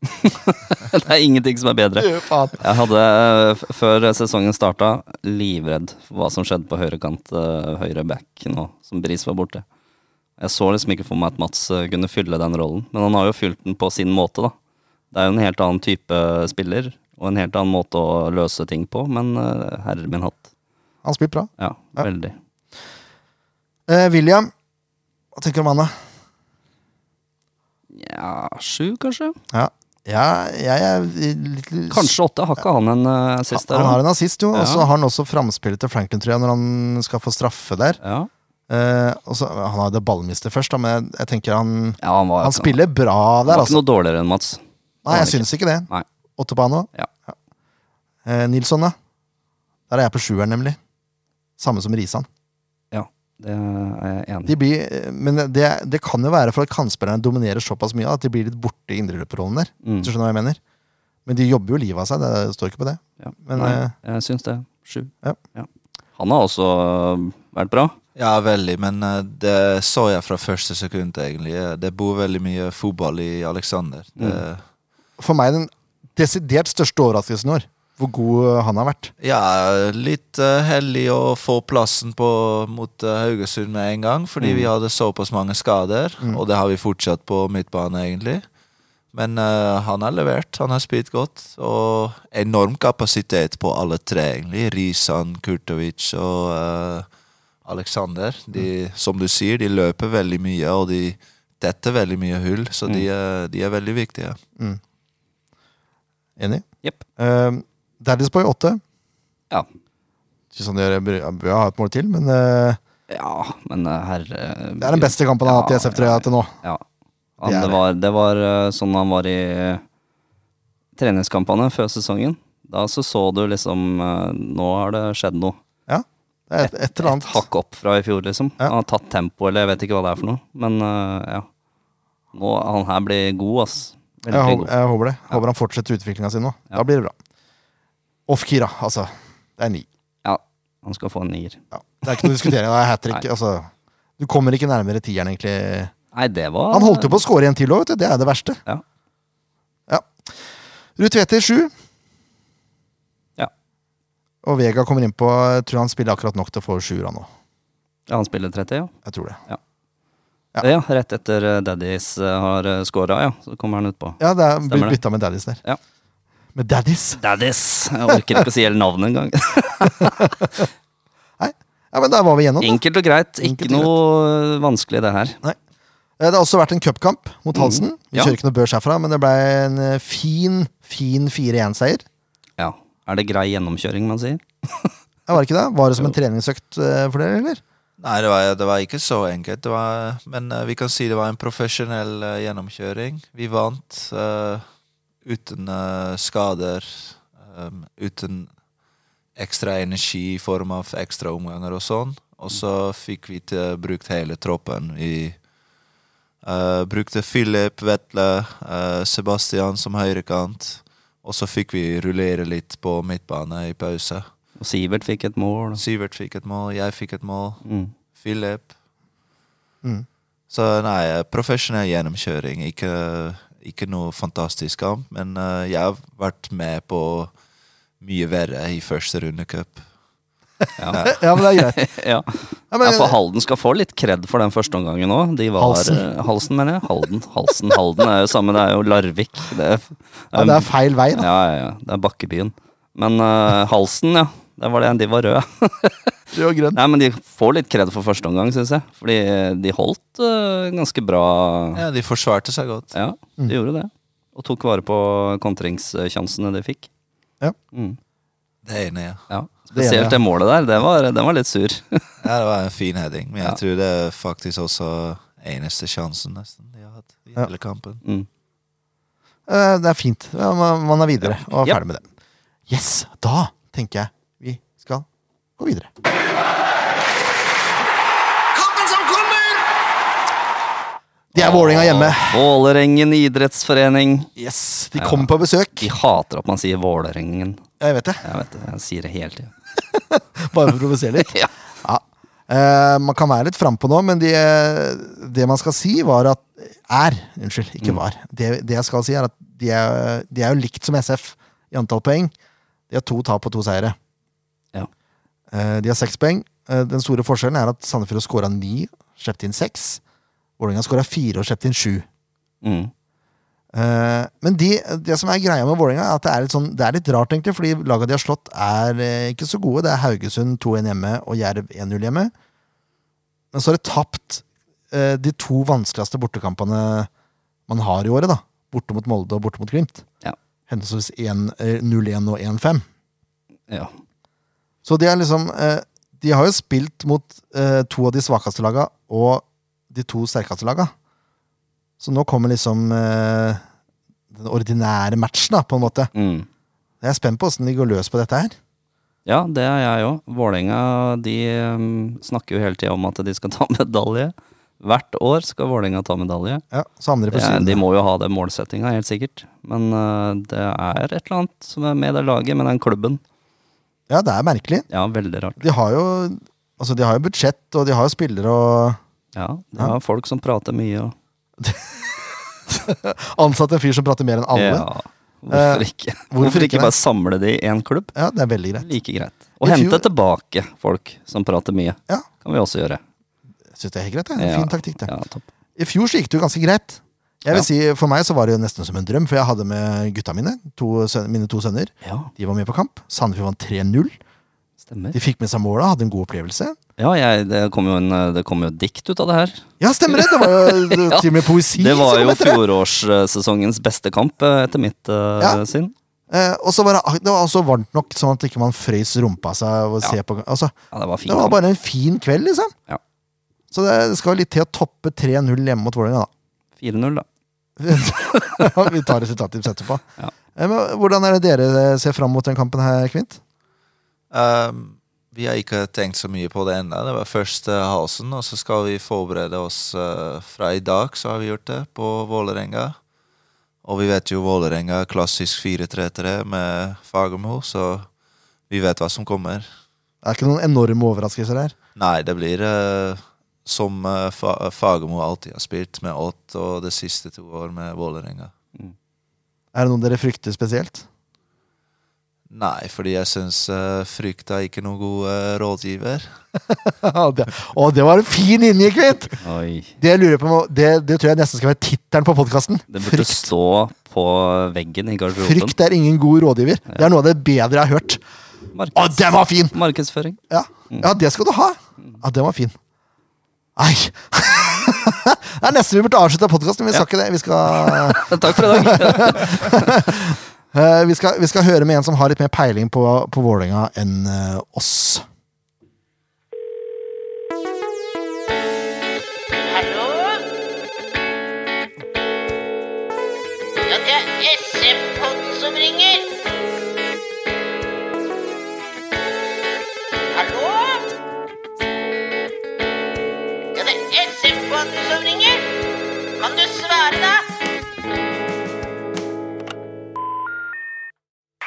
S2: det er ingenting som er bedre.
S1: Faen.
S2: Jeg hadde, eh, f- før sesongen starta, livredd for hva som skjedde på høyrekant, eh, høyre back nå, som Bris var borte. Jeg så liksom ikke for meg at Mats eh, kunne fylle den rollen, men han har jo fylt den på sin måte, da. Det er jo en helt annen type spiller, og en helt annen måte å løse ting på, men eh, herre min hatt.
S1: Han spilte bra.
S2: Ja,
S1: Ja.
S2: veldig.
S1: Eh, William, hva tenker du om han, da?
S2: Ja, sju, kanskje?
S1: Ja, ja jeg er litt
S2: Kanskje åtte. Har ikke han en eh, assist der?
S1: Han
S2: da?
S1: har en assist, jo. Og så
S2: Ja.
S1: har han også framspillet til Franklin, tror jeg, når han skal få straffe der.
S2: Ja.
S1: Eh, og så, han har jo det ballmistet først, da, men jeg, jeg tenker han
S2: ja, han var
S1: Han spiller bra der,
S2: Han var ikke
S1: altså.
S2: noe dårligere enn Mats.
S1: Nei, jeg
S2: han ikke.
S1: syns ikke det.
S2: Nei.
S1: Ottepano.
S2: Ja.
S1: Eh, Nilsson, da? Der er jeg på sjueren, nemlig. Samme som Risan.
S2: Det er jeg enig i.
S1: De blir, eh, men det, det kan jo være for at kantspillerne dominerer såpass mye at de blir litt borte i indreløperrollen der.
S2: Mm.
S1: Hvis du skjønner hva jeg mener? Men de jobber jo livet av seg, det står ikke på det.
S2: Ja.
S1: Men,
S2: Nei,
S1: eh,
S2: jeg syns det. Sju.
S1: Ja.
S2: Han har også øh, vært bra.
S3: Ja, veldig, men eh, det så jeg fra første sekund, egentlig. Eh, Det bor veldig mye fotball i Alexander. Det,
S1: Mm. For meg den desidert største overraskelsen i år, hvor god eh, han har vært.
S3: Ja, litt eh, heldig å få plassen på, mot eh, Haugesund med en gang, fordi vi hadde såpass mange skader, og det har vi fortsatt på midtbane, egentlig. Men eh, han har levert, han har spilt godt, og enorm kapasitet på alle tre, egentlig. Risan, Kurtovic og eh, Alexander. De, som du sier, de løper veldig mye, og de detter veldig mye hull, så de, eh, de er veldig viktige.
S1: Enig?
S2: Jepp.
S1: Uh, Daddy'sboy 8.
S2: Ja.
S1: Synes han gjør, bør ha et mål til, men eh,
S2: ja, men øh, herre
S1: det er den beste kampen han har hatt i SF3 til nå.
S2: Ja.
S1: Det er
S2: Han, det,
S1: det.
S2: var, det var øh, sånn han var i øh, treningskampene før sesongen. Da så så du liksom øh, Nå har det skjedd noe.
S1: Det er et, et eller
S2: Et
S1: annet.
S2: hakk opp fra i fjor, liksom.
S1: Ja.
S2: Han har tatt tempo, eller jeg vet ikke hva det er for noe. Men øh, ja. Nå, han her blir god, ass.
S1: Jeg,
S2: Veldig
S1: håper-
S2: god.
S1: jeg håper det. Håper han fortsetter utviklinga si nå.
S2: Ja.
S1: Da blir det bra. Off-Kira, altså. Det er ni.
S2: Ja, han skal få en nier.
S1: Ja. Det er ikke noe å diskutere. Det er hat trick. altså. Du kommer ikke nærmere tieren, egentlig.
S2: Nei, det var
S1: Han holdt jo på å score en til òg, vet du. Det er det verste.
S2: Ja.
S1: ja. Ruud Tvedter sju.
S2: Ja.
S1: Og Vega kommer innpå. Jeg tror han spiller akkurat nok til å få sjuer nå.
S2: Ja, han spiller 30, ja.
S1: Jeg tror det. Ja.
S2: Ja, Rett etter eh, Daddies eh, har eh, scora, ja. Så kommer han utpå.
S1: Ja, det er
S2: Stemmer
S1: blitt
S2: det.
S1: bytta med Daddies der.
S2: Ja.
S1: Med Daddies?
S2: Daddies! Jeg orker ikke å si hele navnet engang.
S1: Ja, men der var vi igjennom. da.
S2: Enkelt og greit. Ikke
S1: Enkelt og
S2: noe vanskelig, det her.
S1: Eh, Det har også vært en cupkamp mot Halsen. Vi
S2: Mm. Ja.
S1: kjører ikke noe børs herfra, men det ble en eh, fin, fin 4-1-seier.
S2: Ja. Er det grei gjennomkjøring, man sier?
S1: Ja, var det ikke det? Var det som en
S2: Jo.
S1: treningsøkt eh, for dere, eller?
S3: Nei, det var, det var ikke så enkelt. Det var, men eh, vi kan si det var en profesjonell eh, gjennomkjøring. Vi vant eh, uten eh, skader, em, uten ekstra energi i form av ekstra omganger og sånn. Og så fikk vi til, eh, brukt hele troppen. Vi eh, brukte Philip, Vetle, eh, Sebastian som høyrekant. Og så fikk vi rullere litt på midtbane i pause.
S2: Og Sivert fikk et mål.
S3: Sivert fikk et mål, jeg fikk et mål.
S2: Mm.
S3: Philip.
S1: Mm.
S3: Så nei, profesjonell gjennomkjøring. Ikke, ikke noe fantastisk kamp, men eh, jeg har vært med på mye verre i første runde cup.
S2: Ja.
S1: Eh, Ja, men det er greit.
S2: ja.
S1: Ja, men,
S2: ja, for Halden skal få litt kred for den første omgangen òg.
S1: Halsen.
S2: Halsen. eh, Halsen, mener jeg. Halden. Halsen, Halden er jo samme, det er jo Larvik. Det er,
S1: ja, det er feil vei, da.
S2: Ja, ja, ja. Det er Bakkebyen. Men eh, Halsen, ja. Det var det, de var røde.
S1: Rød og grønn.
S2: Nei, men de får litt kred for første omgang, syns jeg. Fordi de holdt eh, ganske bra. Ja,
S3: Ja, De forsvarte seg godt.
S1: Mm.
S2: de gjorde det. Og tok vare på kontringssjansene de fikk.
S1: Ja.
S2: Mm,
S3: Det ene, ja.
S1: Det er det,
S2: ja.
S1: ja.
S2: Spesielt det målet der. Det var, den var litt sur.
S3: ja. Det var en fin heading, men jeg
S2: Ja.
S3: tror det er faktisk også eneste sjansen nesten de har hatt i
S1: Ja.
S3: hele kampen.
S2: Mm.
S1: Eh, Det er fint. Ja, man, man er videre og er
S2: Ja.
S1: ferdig med det. Yes! Da tenker jeg vi skal gå videre.
S4: Kampen som kommer!
S1: De er Vålinga hjemme.
S2: Vålerengen idrettsforening.
S1: Yes, De kommer på besøk.
S2: De hater at man sier Vålerengen.
S1: Jeg vet det,
S2: Jeg vet det, jeg sier det hele tiden.
S1: bare for å provosere litt.
S2: Ja.
S1: Ja. Eh, man kan være litt frampå nå, men det, det man skal si, var at Er, unnskyld, ikke
S2: Mm.
S1: var. Det, det jeg skal si, er at de er, de er jo likt som SF i antall poeng. De har to tap og to seire.
S2: Ja.
S1: Eh, de har seks poeng. Eh, den store forskjellen er at Sandefjord har skåra ni, sluppet inn seks. Vålerenga har skåra fire og sluppet inn sju.
S2: Mm.
S1: Eh, men de, det som er greia med Vålerenga, er at det er litt, sånn, det er litt rart, egentlig, fordi laga de har slått, er eh, ikke så gode. Det er Haugesund 2-1 hjemme og Jerv 1-0 hjemme. Men så har de tapt eh, de to vanskeligste bortekampene man har i året. da Borte mot Molde og borte mot Glimt.
S2: Ja.
S1: Henholdsvis 1, eh, 0-1 og 1-5.
S2: ja.
S1: Så de er liksom eh, De har jo spilt mot eh, to av de svakeste laga og de to sterkeste laga. Så nå kommer liksom eh, den ordinære matchen, da, på en måte.
S2: Mm.
S1: Jeg er spent på åssen de går løs på dette her.
S2: Ja, det er jeg òg. Vålerenga de ehm, snakker jo hele tida om at de skal ta medalje. Hvert år skal Vålerenga ta medalje.
S1: Ja, så havner de
S2: Det
S1: på
S2: er,
S1: siden.
S2: de må jo ha den målsettinga, helt sikkert. Men eh, det er et eller annet som er med det laget, med den klubben.
S1: Ja, det er merkelig.
S2: Ja, veldig rart.
S1: De har jo Altså, de har jo budsjett, og de har jo spillere og
S2: Ja, det er folk som prater mye og
S1: Ansatt en fyr som prater mer enn alle.
S2: Ja,
S1: Ja,
S2: hvorfor
S1: Eh,
S2: ikke? Hvorfor,
S1: hvorfor ikke
S2: ikke
S1: det?
S2: bare samle de i én klubb?
S1: det er veldig greit.
S2: Like greit. Og
S1: I
S2: hente
S1: fjor-
S2: tilbake folk som prater mye.
S1: Ja.
S2: Kan vi også gjøre.
S1: Syns det er helt greit. Det.
S2: Ja.
S1: Fin taktikk, det.
S2: Ja, topp.
S1: I fjor så gikk det jo ganske greit. Jeg vil
S2: Ja.
S1: si, For meg så var det jo nesten som en drøm, for jeg hadde med gutta mine. To søn, mine to sønner.
S2: Ja,
S1: De var med på kamp. Sandefjord vant 3-0.
S2: stemmer.
S1: De fikk med seg måla, hadde en god opplevelse.
S2: Ja, jeg, det kom jo en, eh, det kom jo et dikt ut av det her.
S1: Ja, stemmer det! Det var jo det var
S2: Ja.
S1: til og med poesi.
S2: Det var
S1: som
S2: jo
S1: kom etter det.
S2: fjorårssesongens beste kamp, eh, etter mitt eh,
S1: Ja.
S2: syn.
S1: Eh, og så var det, det var også varmt nok, sånn at ikke man frøys rumpa av seg. Og
S2: Ja.
S1: se på, altså,
S2: Ja, det var fint.
S1: det var bare en fin kveld, liksom.
S2: Ja.
S1: Så det, det skal litt til å toppe 3-0 hjemme mot Vålerenga, da.
S2: 4-0, da.
S1: Ja, Vi tar resultattips etterpå.
S2: Ja.
S1: Eh, Men hvordan er det dere ser fram mot den kampen her, Kvint?
S3: Ehm, vi har ikke tenkt så mye på det ennå. Det var først eh, Halsen, og så skal vi forberede oss eh, fra i dag, så har vi gjort det, på Vålerenga. Og vi vet jo Vålerenga er klassisk 4-3-3 med Fagermo, så vi vet hva som kommer.
S1: Det er ikke noen enorme overraskelser her.
S3: Nei, det blir eh, som eh, Fa Fagermo alltid har spilt, med Ott og de siste to år med Vålerenga.
S1: Er det noen dere frykter spesielt?
S3: Nei, fordi jeg syns uh, frykt er ikke noen god eh, rådgiver.
S1: det, å, det var en fin linje, Kvint!
S2: Oi.
S1: Det jeg lurer på, om- det, det tror jeg nesten skal være tittelen på podkasten.
S2: Det burde
S1: Frykt,
S2: stå på veggen i garderoben.
S1: frykt er ingen god rådgiver. Det er noe av det bedre jeg har hørt. Å,
S2: Markeds
S1: den var fin!
S2: markedsføring.
S1: Ja.
S2: Mm.
S1: ja, det skal du ha. Ja, den var fin. Nei Det er nesten vi burde avslutte podkasten. Vi skal ikke det. Vi skal,
S2: Takk for i dag.
S1: eh, vi, skal, vi skal høre med en som har litt mer peiling på, på Vålerenga enn eh, oss.
S5: Hallo? Ja, det er SF-podden som ringer. Hallo? Ja, det er SF-podden som ringer. Kan du svare, da?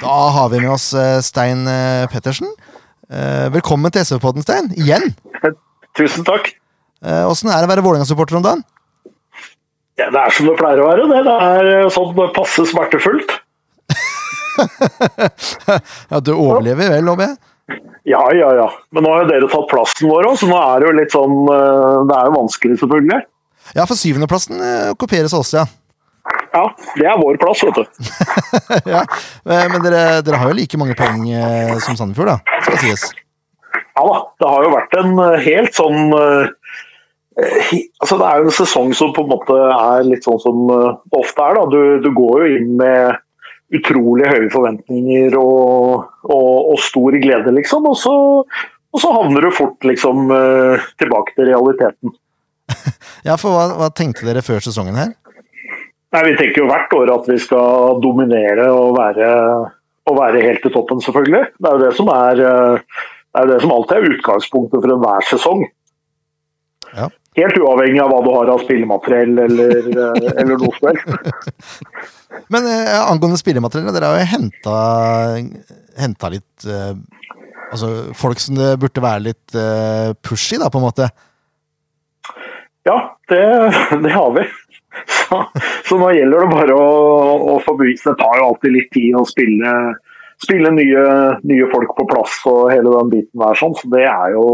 S1: Da har vi med oss eh, Stein eh, Pettersen. Eh, Velkommen til SV-podden, Stein. Igjen. Eh,
S6: Tusen takk.
S1: Åssen er det å være Vålerenga-supporter om dagen?
S6: Ja, det er som det pleier å være. Det, det er eh, sånn passe smertefullt.
S1: Ja, Du overlever vel, håper jeg?
S6: Ja, ja, ja. Men nå har jo dere tatt plassen vår òg, så nå er det jo litt sånn eh, Det er jo vanskelig, selvfølgelig.
S1: Ja, for syvendeplassen eh, okkuperes av oss, ja.
S6: Ja, det er vår plass, vet du.
S1: ja. Eh, Men dere, dere har jo like mange poeng eh, som Sandefjord, da. Skal sies.
S6: Ja da. Det har jo vært en eh, helt sånn eh, eh, he- Altså, det er jo en sesong som på en måte er litt sånn som eh, det ofte er, da. Du, du går jo inn med utrolig høye forventninger og, og, og stor glede, liksom. Og så, og så havner du fort liksom eh, tilbake til realiteten.
S1: Ja, for hva, hva tenkte dere før sesongen her?
S6: Nei, Vi tenker jo hvert år at vi skal dominere og være, og være helt i toppen, selvfølgelig. Det er jo det som, er, eh, det er jo det som alltid er utgangspunktet for enhver sesong.
S1: Ja.
S6: Helt uavhengig av hva du har av spillemateriell eller, eh, eller noe som helst.
S1: Men eh, angående spillemateriellet, dere har jo henta, henta litt eh, Altså folk som det burde være litt eh, pushy, da, på en måte.
S6: Ja, det, det har vi. Så, så nå gjelder det bare å, å få bevist. Det tar jo alltid litt tid å spille, spille nye, nye folk på plass og hele den biten der. sånn, så Det er jo,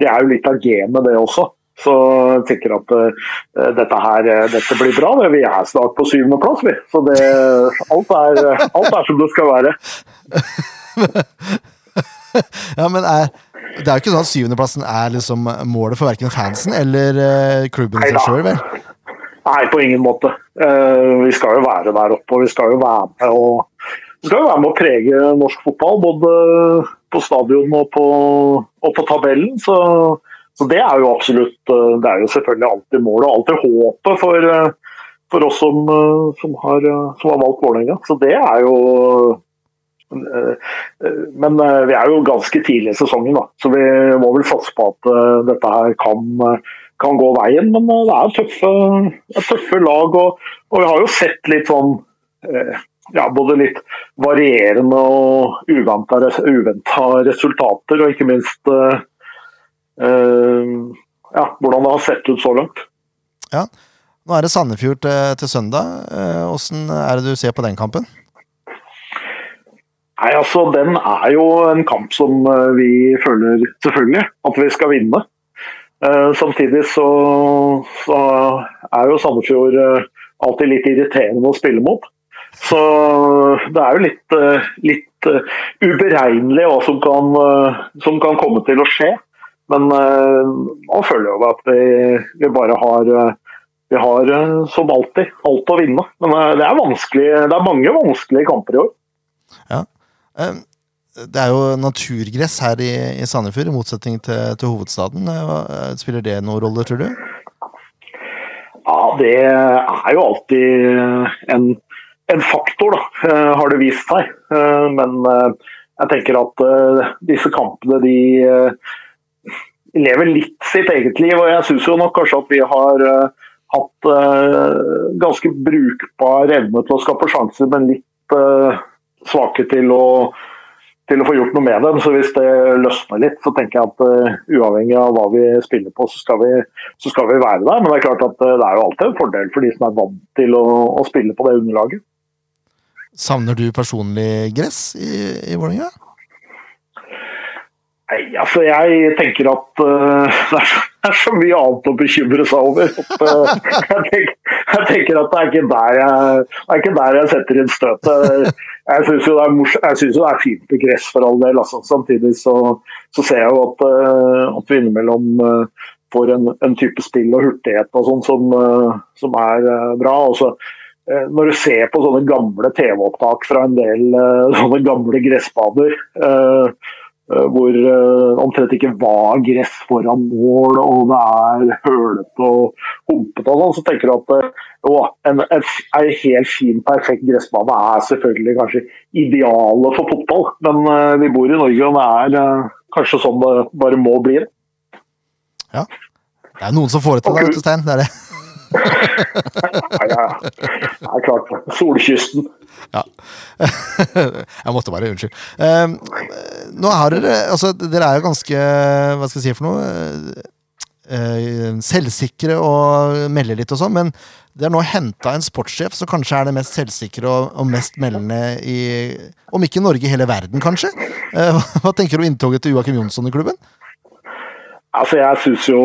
S6: det er jo litt av gamet, det også. Så jeg tenker at eh, dette her eh, dette blir bra. det. Vi er snart på syvendeplass, vi. Så det, alt, er, alt er som det skal være.
S1: Ja, men er, Det er jo ikke sånn at syvendeplassen er liksom målet for verken fansen eller eh, klubben i seg
S6: Neida.
S1: sjøl, vel?
S6: Nei, på ingen måte. Eh, vi skal jo være der oppe, og vi skal jo være med og vi skal jo være med å prege norsk fotball. Både på stadion og på, og på tabellen. Så, så det er jo absolutt eh, Det er jo selvfølgelig alltid målet og alltid håpet for, eh, for oss som, eh, som, har, eh, som har valgt Vålerenga. Så det er jo eh, eh, men eh, vi er jo ganske tidlig i sesongen, da. så vi må vel satse på at eh, dette her kan eh, kan gå veien, men eh, det er tøffe, det er tøffe lag. Og, og vi har jo sett litt sånn eh, ja, både litt varierende og uventa, uventa resultater, og ikke minst eh, eh, ja, hvordan det har sett ut så langt.
S1: Ja. Nå er det Sandefjord til, til søndag. Eh, Åssen er det du ser på den kampen?
S6: Nei, altså Den er jo en kamp som eh, vi føler selvfølgelig at vi skal vinne. Eh, samtidig så, så er jo Sandefjord eh, alltid litt irriterende å spille mot. Så det er jo litt, eh, litt eh, uberegnelig hva som kan, eh, som kan komme til å skje. Men eh, nå føler jeg jo at vi, vi bare har eh, vi har eh, som alltid alt å vinne. Men eh, det er, vanskelig- det er mange vanskelige kamper i år.
S1: Eh, Det er jo naturgress her i, i Sandefjord, i motsetning til, til hovedstaden. Eh, hva- eh, Spiller det noen rolle, tror du?
S6: Ja, det er jo alltid en, en faktor, da, eh, har det vist seg. Eh, Men eh, jeg tenker at eh, disse kampene de eh, lever litt sitt eget liv. Og jeg syns jo nok kanskje at vi har eh, hatt eh, ganske brukbar evne til å skape sjanser, men litt eh, svake til å til å få gjort noe med dem, så Hvis det løsner litt, så tenker jeg at eh, uavhengig av hva vi spiller på, så skal vi så skal vi være der. Men det er klart at eh, det er jo alltid en fordel for de som er vant til å, å spille på det underlaget.
S1: Savner du personlig gress i, i Vålerenga?
S6: Nei, altså Jeg tenker at eh, det, er så, det er så mye annet å bekymre seg over. At, eh, jeg, tenker, jeg tenker at det er ikke der jeg, det er ikke der jeg setter inn støtet. Jeg syns jo, det er mors- jeg synes jo det er fint med gress for all del. Altså. Samtidig så, så ser jeg jo at, eh, at vi innimellom eh, får en, en type spill og hurtighet og sånn som, eh, som er eh, bra. Og så, eh, når du ser på sånne gamle TV-opptak fra en del eh, sånne gamle gressbaner, eh, eh, hvor eh, omtrent ikke var gress foran mål, og det er hølete og humpete og sånn, så tenker du at eh, jo, en, en, en helt fin, perfekt gressbane er selvfølgelig kanskje idealet for fotball, men eh, vi bor i Norge, og det er eh, kanskje sånn det bare må bli. det.
S1: Det er noen som får det til, da, vet du, Stein. Det er det.
S6: Nei, det er- det er klart. Solkysten.
S1: Ja. jeg måtte bare, unnskyld. Ehm, nå har dere Altså, dere er jo ganske Hva skal jeg si for noe? eh, selvsikre og melder litt og sånn, men dere har nå henta en sportssjef som kanskje er det mest selvsikre og, og mest meldende i Om ikke i Norge, hele verden, kanskje? Eh, hva, hva tenker du om inntoget til Joakim Jonsson i klubben?
S6: Altså, jeg syns jo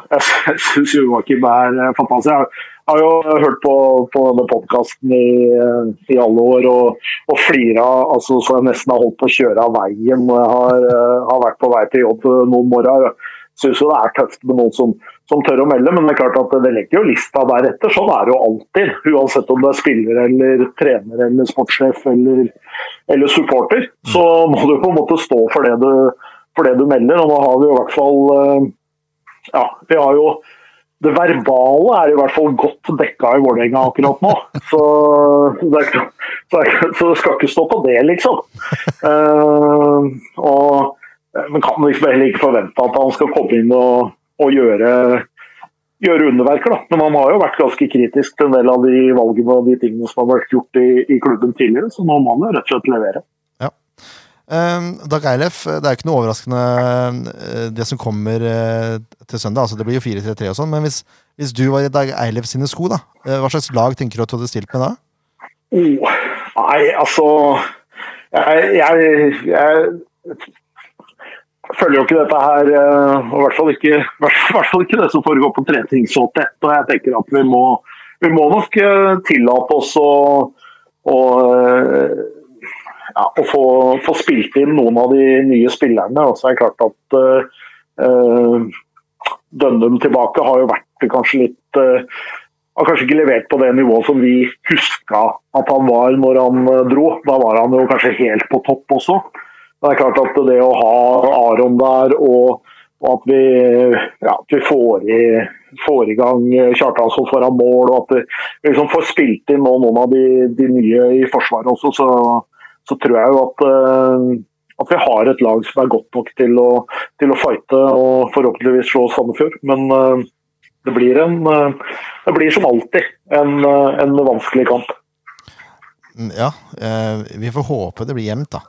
S6: Jeg synes jo Joakim er eh, fantastisk. Jeg har jo hørt på, på denne podkasten i, eh, i alle år og, og flira altså, så jeg nesten har holdt på å kjøre av veien når jeg har, eh, har vært på vei til jobb eh, noen morgener. Syns jo det er tøft med noen som, som tør å melde, men det er klart at det legger jo lista deretter. Sånn er det jo alltid, uansett om du er spiller eller trener eller sportssjef eller, eller supporter. Så må du på en måte stå for det du for det du melder. Og nå har vi jo i hvert fall eh, Ja, vi har jo Det verbale er i hvert fall godt dekka i Vålerenga akkurat nå. Så det, er, ikke- så, det er, ikke- så det skal ikke stå på det, liksom. Eh, og, men kan liksom heller ikke forvente at han skal komme inn og, og gjøre gjøre underverker. Da. Men man har jo vært ganske kritisk til en del av de valgene og de tingene som har vært gjort i, i klubben tidligere, så nå må han jo rett og slett levere.
S1: Um, Dag Eilef, det er jo ikke noe overraskende eh, det som kommer eh, til søndag. altså Det blir jo 4-3-3 og sånn, men hvis, hvis du var i Dag Eilef sine sko, da, eh, hva slags lag tenker du at du hadde stilt med da?
S6: Oh, nei, altså jeg, jeg, jeg følger jo ikke dette her eh, og I hvert fall ikke, i hvert fall ikke det som foregår på trening så tett. og Jeg tenker at vi må, vi må nok eh, tillate oss å, å, eh, ja, å få, få spilt inn noen av de nye spillerne. Og så er det klart at eh, eh, Dønnum tilbake har jo vært kanskje litt eh, har kanskje ikke levert på det nivået som vi huska at han var når han eh, dro. Da var han jo kanskje helt på topp også. Men det er klart at det å ha Aron der, og, og at vi, ja, at vi får, i, får i gang eh, Kjartansson foran mål, og at vi liksom får spilt inn nå noen av de, de nye i forsvaret også, så, så tror jeg jo at eh, at vi har et lag som er godt nok til å, til å fighte og forhåpentligvis slå Sandefjord. Men eh, det blir, en, eh, det blir som alltid en, eh, en vanskelig kamp.
S1: Mm, Ja, eh, vi får håpe det blir jevnt, da.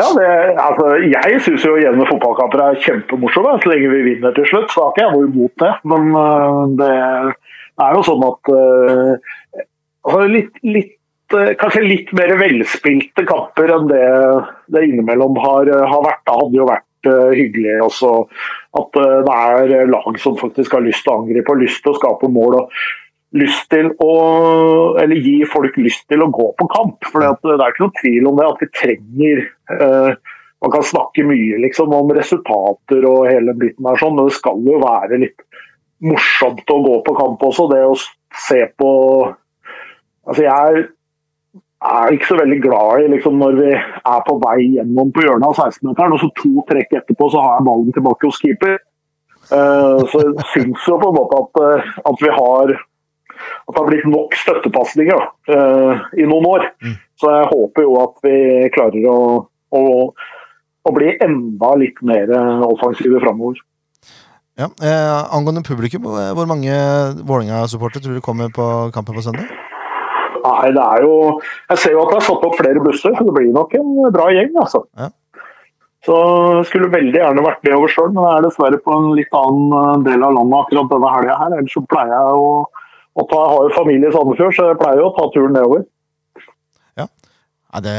S6: Ja, det, altså, jeg syns jo jevne fotballkamper er kjempemorsomme, så lenge vi vinner til slutt. Så har ikke jeg noe imot det, men eh, det er jo sånn at eh, altså, litt, litt, eh, Kanskje litt mer velspilte kamper enn det det innimellom har, øh, har vært. Det hadde jo vært eh, hyggelig også at eh, det er lag som faktisk har lyst til å angripe og lyst til å skape mål. og lyst til å Eller gi folk lyst til å gå på kamp. For det er ikke noen tvil om det at vi trenger eh, Man kan snakke mye liksom, om resultater og hele biten her, sånn, men det skal jo være litt morsomt å gå på kamp også. Det å se på Altså, jeg er ikke så veldig glad i liksom, når vi er på vei gjennom på hjørnet av 16-meteren, og så to trekk etterpå så har jeg ballen tilbake hos keeper. Eh, så jeg syns jo på en måte at, eh, at vi har at det har blitt nok støttepasninger da, eh, i noen år. Så jeg håper jo at vi klarer å, å, å bli enda litt mer eh, offensive framover.
S1: Ja, eh, angående publikum, eh, hvor mange Vålerenga-supportere tror du kommer på kampen på søndag?
S6: Nei, det er jo Jeg ser jo at det er satt opp flere busser, så det blir nok en bra gjeng, altså.
S1: Ja.
S6: Så jeg skulle veldig gjerne vært med over sjøl, men jeg er dessverre på en litt annen eh, del av landet akkurat denne helga her. Ellers så pleier jeg å, å ta, Jeg har jo familie i Sandefjord, så jeg pleier jo å ta turen nedover.
S1: Nei, det,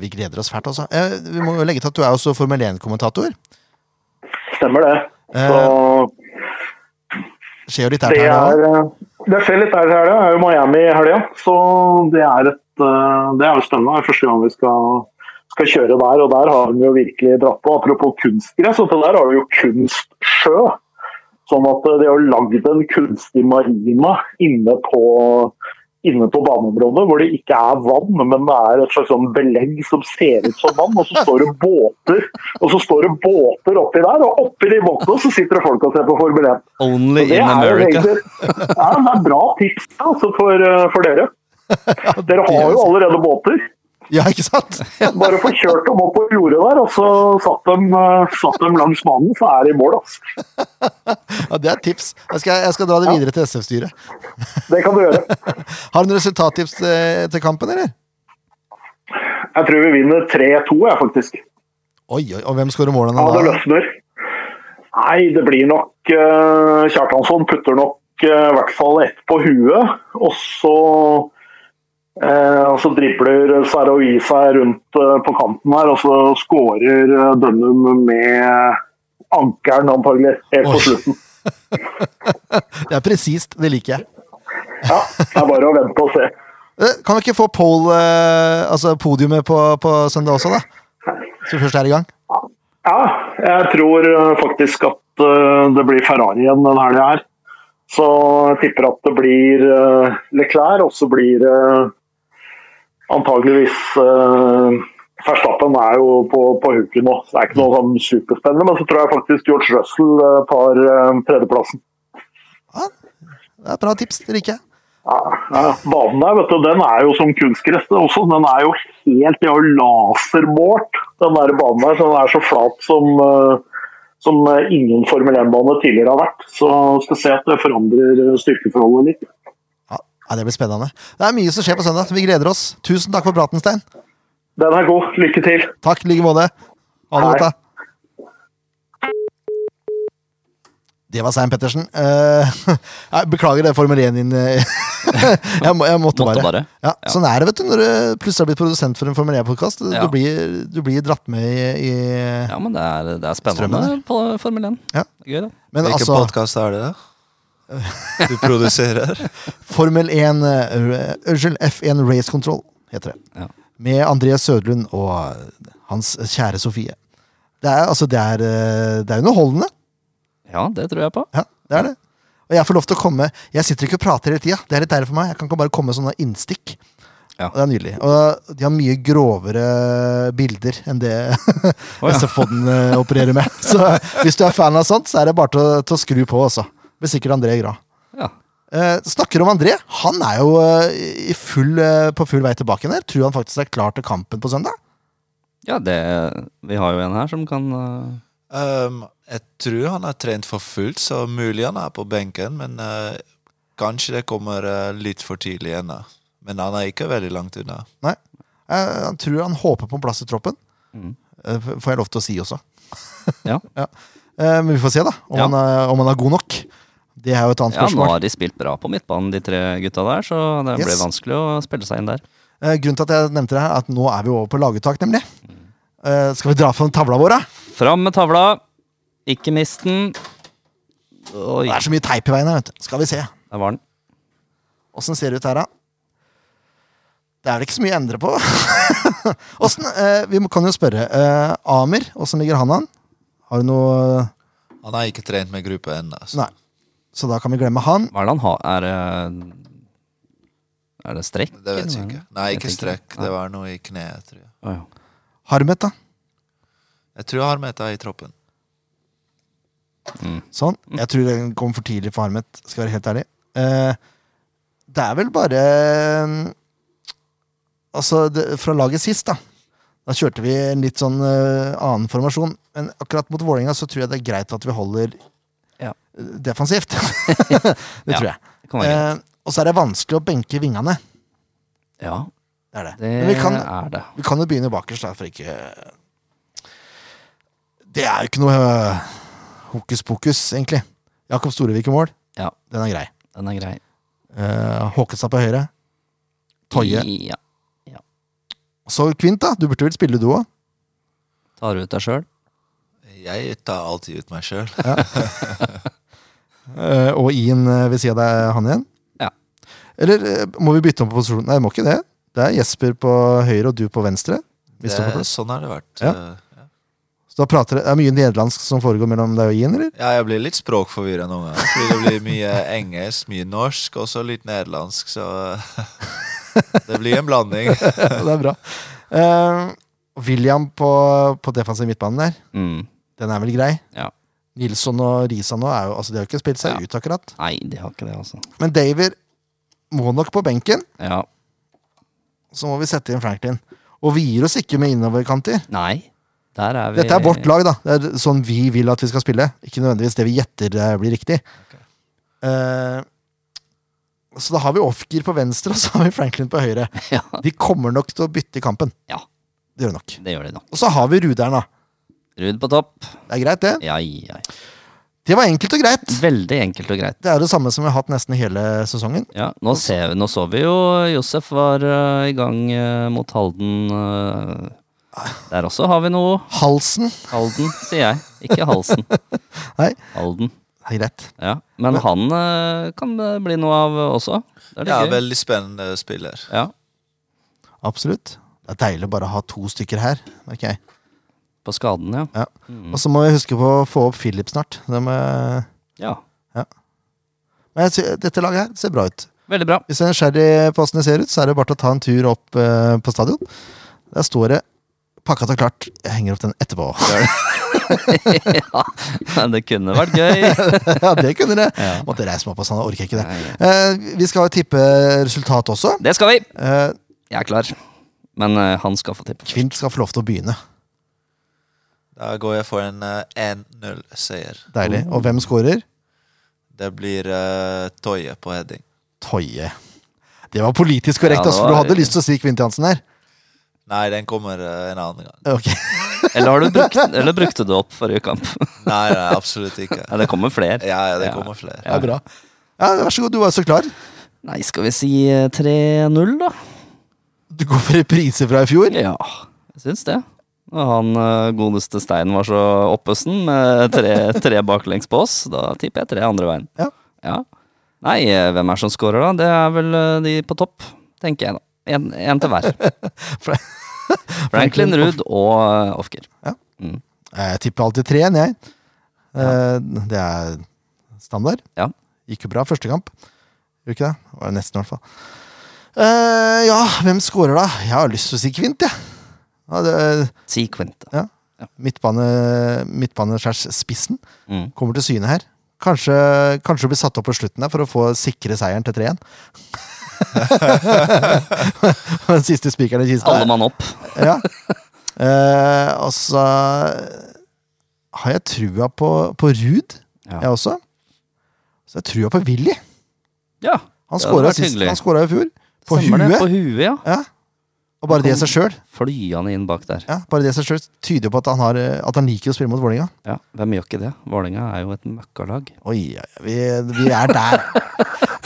S1: Vi gleder oss fælt, altså. Eh, vi må jo legge til at du er også Formel 1-kommentator.
S6: Stemmer det.
S1: Eh,
S6: Så
S1: Skjer jo litt her
S6: Det
S1: til her nå.
S6: er, eh, det skjer litt der i helga. Det er jo Miami i helga, så det er, et, eh, det er jo spennende. Det er første gang vi skal, skal kjøre der, og der har vi jo virkelig dratt på. Apropos kunstgress, og der har vi jo kunstsjø. Sånn at eh, de har lagd en kunstig marina inne på, inne på baneområdet, hvor det ikke er vann, men det er et slags sånn belegg som ser ut som vann. Og så står det båter og så står det båter oppi der, og oppi de båtene så sitter det folk og ser på Formel 1.
S2: Only in
S6: Det er jo
S2: America.
S6: egentlig- Ja, men det er bra tips altså, for, eh, for dere. Dere har jo allerede båter.
S1: Ja, ikke sant?
S6: Bare få kjørt dem opp på jordet der, og så satt dem, eh, satt dem langs mannen, så er de i mål. Altså.
S1: Ja, Det er et tips. Jeg skal, jeg skal dra det videre til SF-styret.
S6: Det kan du gjøre.
S1: Har du noen resultattips til, til kampen, eller?
S6: Jeg tror vi vinner 3-2, jeg, faktisk.
S1: Oi, oi, og hvem skårer målene
S6: Ja, det
S1: da?
S6: løsner. Nei, det blir nok eh, Kjartansson putter nok eh, i hvert fall ett på huet, og så Eh, og Så dribler Saroui seg rundt eh, på kanten her, og så skårer eh, Dønnum med ankelen, antagelig, helt
S1: Oi.
S6: på slutten.
S1: Det er presist, det liker jeg.
S6: Ja, Det er bare å vente og se.
S1: Eh, Kan vi ikke få poll, eh, altså podiumet på, på søndag også, da? Så vi først er i gang.
S6: Ja, jeg tror eh, faktisk at eh, det blir Ferrari igjen denne helga her. Så jeg tipper at det blir eh, Leclerc, og så blir det antageligvis eh, Verstappen er jo på, på huken nå, så det er ikke noe sånn superspennende. Men så tror jeg faktisk George Russell eh, tar eh, tredjeplassen.
S1: Det er et bra tips, det liker jeg.
S6: Ja, ja. Banen der, vet du, den er jo som kunstgress det også. Den er jo helt De har jo lasermålt den der banen der, så den er så flat som eh, som eh, ingen Formel 1-bane tidligere har vært. Så skal se at det forandrer eh, styrkeforholdet litt.
S1: Ja, Det blir spennende. Det er mye som skjer på søndag. Vi gleder oss. Tusen takk for praten, Stein.
S6: Den er god. Lykke til.
S1: Takk, i like måte. Ha det
S6: Hei.
S1: godt, da. Det var Stein Pettersen. Eh, jeg beklager det Formel 1 din eh, jeg, må, jeg måtte,
S2: Måtte
S1: bare.
S2: bare.
S1: Ja, Sånn er det vet du når du plutselig har blitt produsent for en Formel 1-podkast. Du,
S2: Ja.
S1: blir, du blir dratt med i, i
S2: Ja, men det er, det er
S1: Strømmen
S2: spennende på Formel 1.
S1: Ja.
S2: Det er Gøy, det.
S1: Men
S3: Hvilken
S1: altså,
S3: podkast er det, da? Du produserer?
S1: Formel 1 eh, Unnskyld, F1 Race Control heter det.
S2: Ja.
S1: Med André Sødlund og hans kjære Sofie. Det er, altså, det er, eh, det er underholdende.
S2: Ja, det tror jeg på.
S1: Ja, det er det. Og jeg får lov til å komme Jeg sitter ikke og prater hele tida. Det er litt deilig for meg. Jeg kan ikke bare komme med sånne innstikk.
S2: Ja.
S1: Og Det er nydelig. Og de har mye grovere bilder enn det
S2: Å, ja.
S1: SF-podden eh, opererer med. Så eh, hvis du er fan av sånt, så er det bare til, å- til å skru på, altså. Blir sikkert André glad.
S2: Ja.
S1: Eh, snakker om André. Han er jo eh, i full, eh, på full vei tilbake der. Tror han faktisk er klar til kampen på søndag.
S2: ja, det Vi har jo en her som kan eh,
S3: Um, jeg tror han har trent for fullt, så mulig han er på benken. Men eh, kanskje det kommer eh, litt for tidlig ennå. Men han er ikke veldig langt unna.
S1: Nei. Eh, han tror han håper på en plass i troppen.
S2: Mm.
S1: Eh, f- får jeg lov til å si også.
S2: Ja.
S1: Eh, men vi får se, da. Om,
S2: Ja.
S1: han er, om han er god nok. Det er jo et annet
S2: Ja, nå
S1: spørsmål.
S2: har de spilt bra på midtbanen, de tre gutta der, så det ble
S1: Yes.
S2: vanskelig å spille seg inn der.
S1: Eh, grunnen til at jeg nevnte det her, er at nå er vi over på laguttak, nemlig.
S2: Mm.
S1: Eh, skal vi dra fram tavla vår, da?
S2: Fram med tavla! Ikke mist den. Oi,
S1: Det er så mye teip i veien her, vet du. Skal vi se.
S2: der var den.
S1: Åssen ser det ut her, da? Det er det ikke så mye å endre på. Åssen eh, Vi må- kan jo spørre. Eh, Amer, åssen ligger han an? Har du noe
S3: Han har ikke trent med gruppe altså. ennå. så-
S1: Nei. Så da kan vi glemme han.
S2: Hva er det han har? Er det Er det strekk?
S3: Det vet jeg
S2: eller?
S3: ikke. Nei,
S2: Jeg
S3: ikke
S2: tenker-
S3: strekk. Det var noe i kneet, tror jeg.
S2: Å, ja.
S1: Harmet, da.
S3: Jeg tror jeg har med deg i troppen.
S1: Sånn. Jeg tror den kom for tidlig for Harmet, skal jeg være helt ærlig. Eh, det er vel bare eh, Altså, det, fra laget sist, da. Da kjørte vi en litt sånn eh, annen formasjon. Men akkurat mot Vålerenga så tror jeg det er greit at vi holder
S2: Ja.
S1: eh, defensivt. det
S2: Ja,
S1: tror jeg.
S2: Det kan være greit.
S1: Eh, og så er det vanskelig å benke vingene.
S2: Ja,
S1: Det er det.
S2: det
S1: Men vi kan,
S2: er det.
S1: vi kan jo begynne bakerst, da, for ikke Det er jo ikke noe øh, hokus pokus, egentlig. Jakob Storevik i mål.
S2: Ja.
S1: Den er grei.
S2: Den er grei.
S1: Uh, Håkenstad på høyre. Toje.
S2: Ja.
S1: Så Kvint, da. Du burde vel spille du òg?
S2: Tar ut deg sjøl.
S3: Jeg tar alltid ut meg sjøl.
S1: og Ian øh, ved sida av deg, han igjen?
S2: Ja.
S1: Eller øh, må vi bytte om på posisjon? Nei, må ikke det. Det er Jesper på høyre og du på venstre. Vi står på plass.
S3: Sånn har det vært.
S1: Ja.
S3: Eh, ja.
S1: Så da prater det, det er mye nederlandsk som foregår mellom deg og Ian, eller?
S3: Ja, jeg blir litt språkforvirra noen ganger. Fordi det blir mye engelsk, mye norsk, og så litt nederlandsk, så Det blir en blanding.
S1: Ja, det er bra. Eh, William på, på defensiv midtbane der,
S2: Mm.
S1: den er vel grei?
S2: Ja.
S1: Nilsson og Risa nå er jo, altså de har jo ikke spilt seg
S2: Ja.
S1: ut, akkurat.
S2: Nei, de har ikke det, altså.
S1: Men Daver må nok på benken,
S2: Ja.
S1: så må vi sette inn Franklin. Og vi gir oss ikke med innoverkanter.
S2: Nei. Der er vi
S1: Dette er vårt lag, da. Det er sånn vi vil at vi skal spille. Ikke nødvendigvis det vi gjetter eh, blir riktig. Eh, så da har vi Ofker på venstre, og så har vi Franklin på høyre.
S2: Ja,
S1: De kommer nok til å bytte i kampen.
S2: Ja.
S1: Det gjør de nok.
S2: det gjør de nok.
S1: Og så har vi Ruderen, da.
S2: Ruud på topp.
S1: Det er greit, det.
S2: Ja, ja.
S1: Det var enkelt og greit.
S2: Veldig enkelt og greit.
S1: Det er det samme som vi har hatt nesten hele sesongen.
S2: Ja, nå, ser, nå så vi jo Josef var eh, i gang eh, mot Halden. eh. der også har vi noe.
S1: Halsen
S2: Halden, sier jeg. Ikke halsen.
S1: Nei.
S2: Halden.
S1: Det er greit.
S2: Ja. Men han eh, kan det bli noe av også. Det er
S3: Ja,
S2: litt gøy.
S3: veldig spennende spiller.
S2: Ja,
S1: Absolutt. Det er deilig bare å ha to stykker her. merker jeg.
S2: på skaden, ja.
S1: Ja.
S2: Mm.
S1: Og så må vi huske på å få opp Philip snart. Det må...
S2: ja.
S1: Men jeg sy- dette laget her ser bra ut.
S2: Veldig bra.
S1: Hvis du er nysgjerrig på åssen det ser ut, så er det bare til å ta en tur opp eh, på stadion. Der står det pakka til klart. Jeg henger opp den etterpå.
S2: ja, men det kunne vært gøy.
S1: ja, det kunne det.
S2: Ja.
S1: Måtte reise meg opp og sånn. Jeg orker ikke det. Eh, vi skal jo tippe resultat også.
S2: Det skal vi!
S1: Eh,
S2: Jeg er klar. Men eh, han skal få tippe.
S1: Kvint skal få lov til å begynne.
S3: Da går jeg for en eh, 1-0-seier.
S1: Deilig. Og hvem scorer?
S3: Det blir uh, Toye på heading.
S1: Toye. Det var politisk korrekt,
S2: Ja, det
S1: altså, for du
S2: var-
S1: hadde lyst til å si Kvint Jansen her.
S3: Nei, den kommer eh, en annen gang.
S1: Ok.
S2: Eller, har du brukt, eller brukte du opp forrige kamp?
S3: Nei, nei absolutt ikke.
S2: Ja, det kommer flere.
S3: Ja, ja, det
S2: Ja.
S3: kommer flere.
S1: Det er bra. Ja, Vær så god, du var så klar.
S2: Nei, skal vi si eh, 3-0, da?
S1: Du går for repriser fra i fjor.
S2: Ja, jeg syns det. Og han eh, godeste Stein var så oppesen med tre, tre baklengs på oss. Da tipper jeg tre andre veien.
S1: Ja.
S2: Nei, eh, hvem er det som scorer, da? Det er vel eh, de på topp, tenker jeg, da. En- en til hver.
S1: Fra-
S2: Franklin Ruud og eh, Ofker.
S1: Jeg tipper alltid 3-1, jeg. Eh, Det er standard.
S2: Ja.
S1: Gikk jo bra første kamp. Gjorde ikke det? Var det nesten, i hvert fall. Eh, ja, hvem scorer da? Jeg har lyst til å si Kvint, jeg. Ja. det-
S2: Si Quinta.
S1: midtbane midtbane slash spissen
S2: Mm.
S1: kommer til syne her. Kanskje, kanskje det blir satt opp på slutten der for å få sikre seieren til 3-1. Den siste spikeren i kista.
S2: Alle mann opp.
S1: Ja. Eh, og så har jeg trua på, på Ruud,
S2: Ja.
S1: jeg også. Så jeg har trua på Willy.
S2: Ja,
S1: Han
S2: det hadde
S1: skåra
S2: vært
S1: sist.
S2: hyggelig.
S1: Han skåra i fjor. På
S2: stemmer det.
S1: huet.
S2: På huet, ja.
S1: Ja. Og bare det i seg sjøl
S2: Flyende inn bak der.
S1: ja, bare det i seg selv tyder jo på at han, har, eh, at han liker å spille mot Vålerenga.
S2: Ja, Hvem gjør ikke det? Vålerenga er jo et møkkalag.
S1: Oi, ja, ja, vi, vi er der.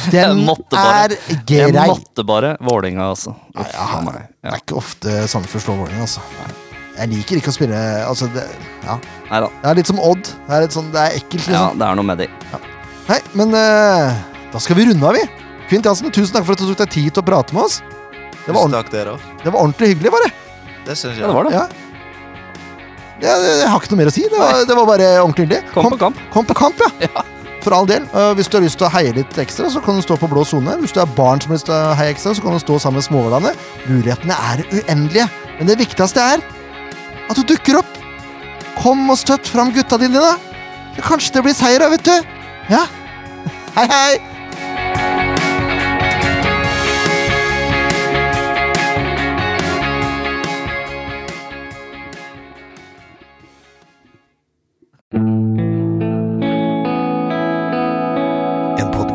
S1: Den
S2: Jeg måtte bare-
S1: er
S2: Jeg
S1: grei.
S2: måtte bare Vålerenga, altså.
S1: Nei,
S2: Uff,
S1: ja,
S2: a meg.
S1: Det
S2: Ja.
S1: er ikke ofte sånn Sandefjord slår Vålerenga, altså. Jeg liker ikke å spille altså det, ja.
S2: Neida.
S1: det er litt som Odd. Det er, litt sånn, det er ekkelt, liksom.
S2: ja, det er noe med de.
S1: Nei, men eh, da skal vi runde av, vi. Kvint Jansen, tusen takk for at du tok deg tid til å prate med oss. Det var,
S3: Tusen
S1: ordent-
S3: takk, dere òg.
S1: det var ordentlig hyggelig, bare.
S3: Det
S2: Ja,
S3: syns jeg.
S2: det var det.
S1: Ja. Ja, det- jeg har ikke noe mer å si. Det var, det var bare ordentlig hyggelig.
S2: Kom på kamp.
S1: kom på kamp, ja. For all del. Eh, hvis du har lyst til å heie litt ekstra, så kan du stå på blå sone. Hvis du er barn som har lyst til å heie ekstra, så kan du stå sammen med småhålene. Mulighetene er uendelige. Men det viktigste er at du dukker opp. Kom og støtt fram gutta dine, da. Så Kanskje det blir seier, da, vet du. Ja. Hei, hei.
S7: En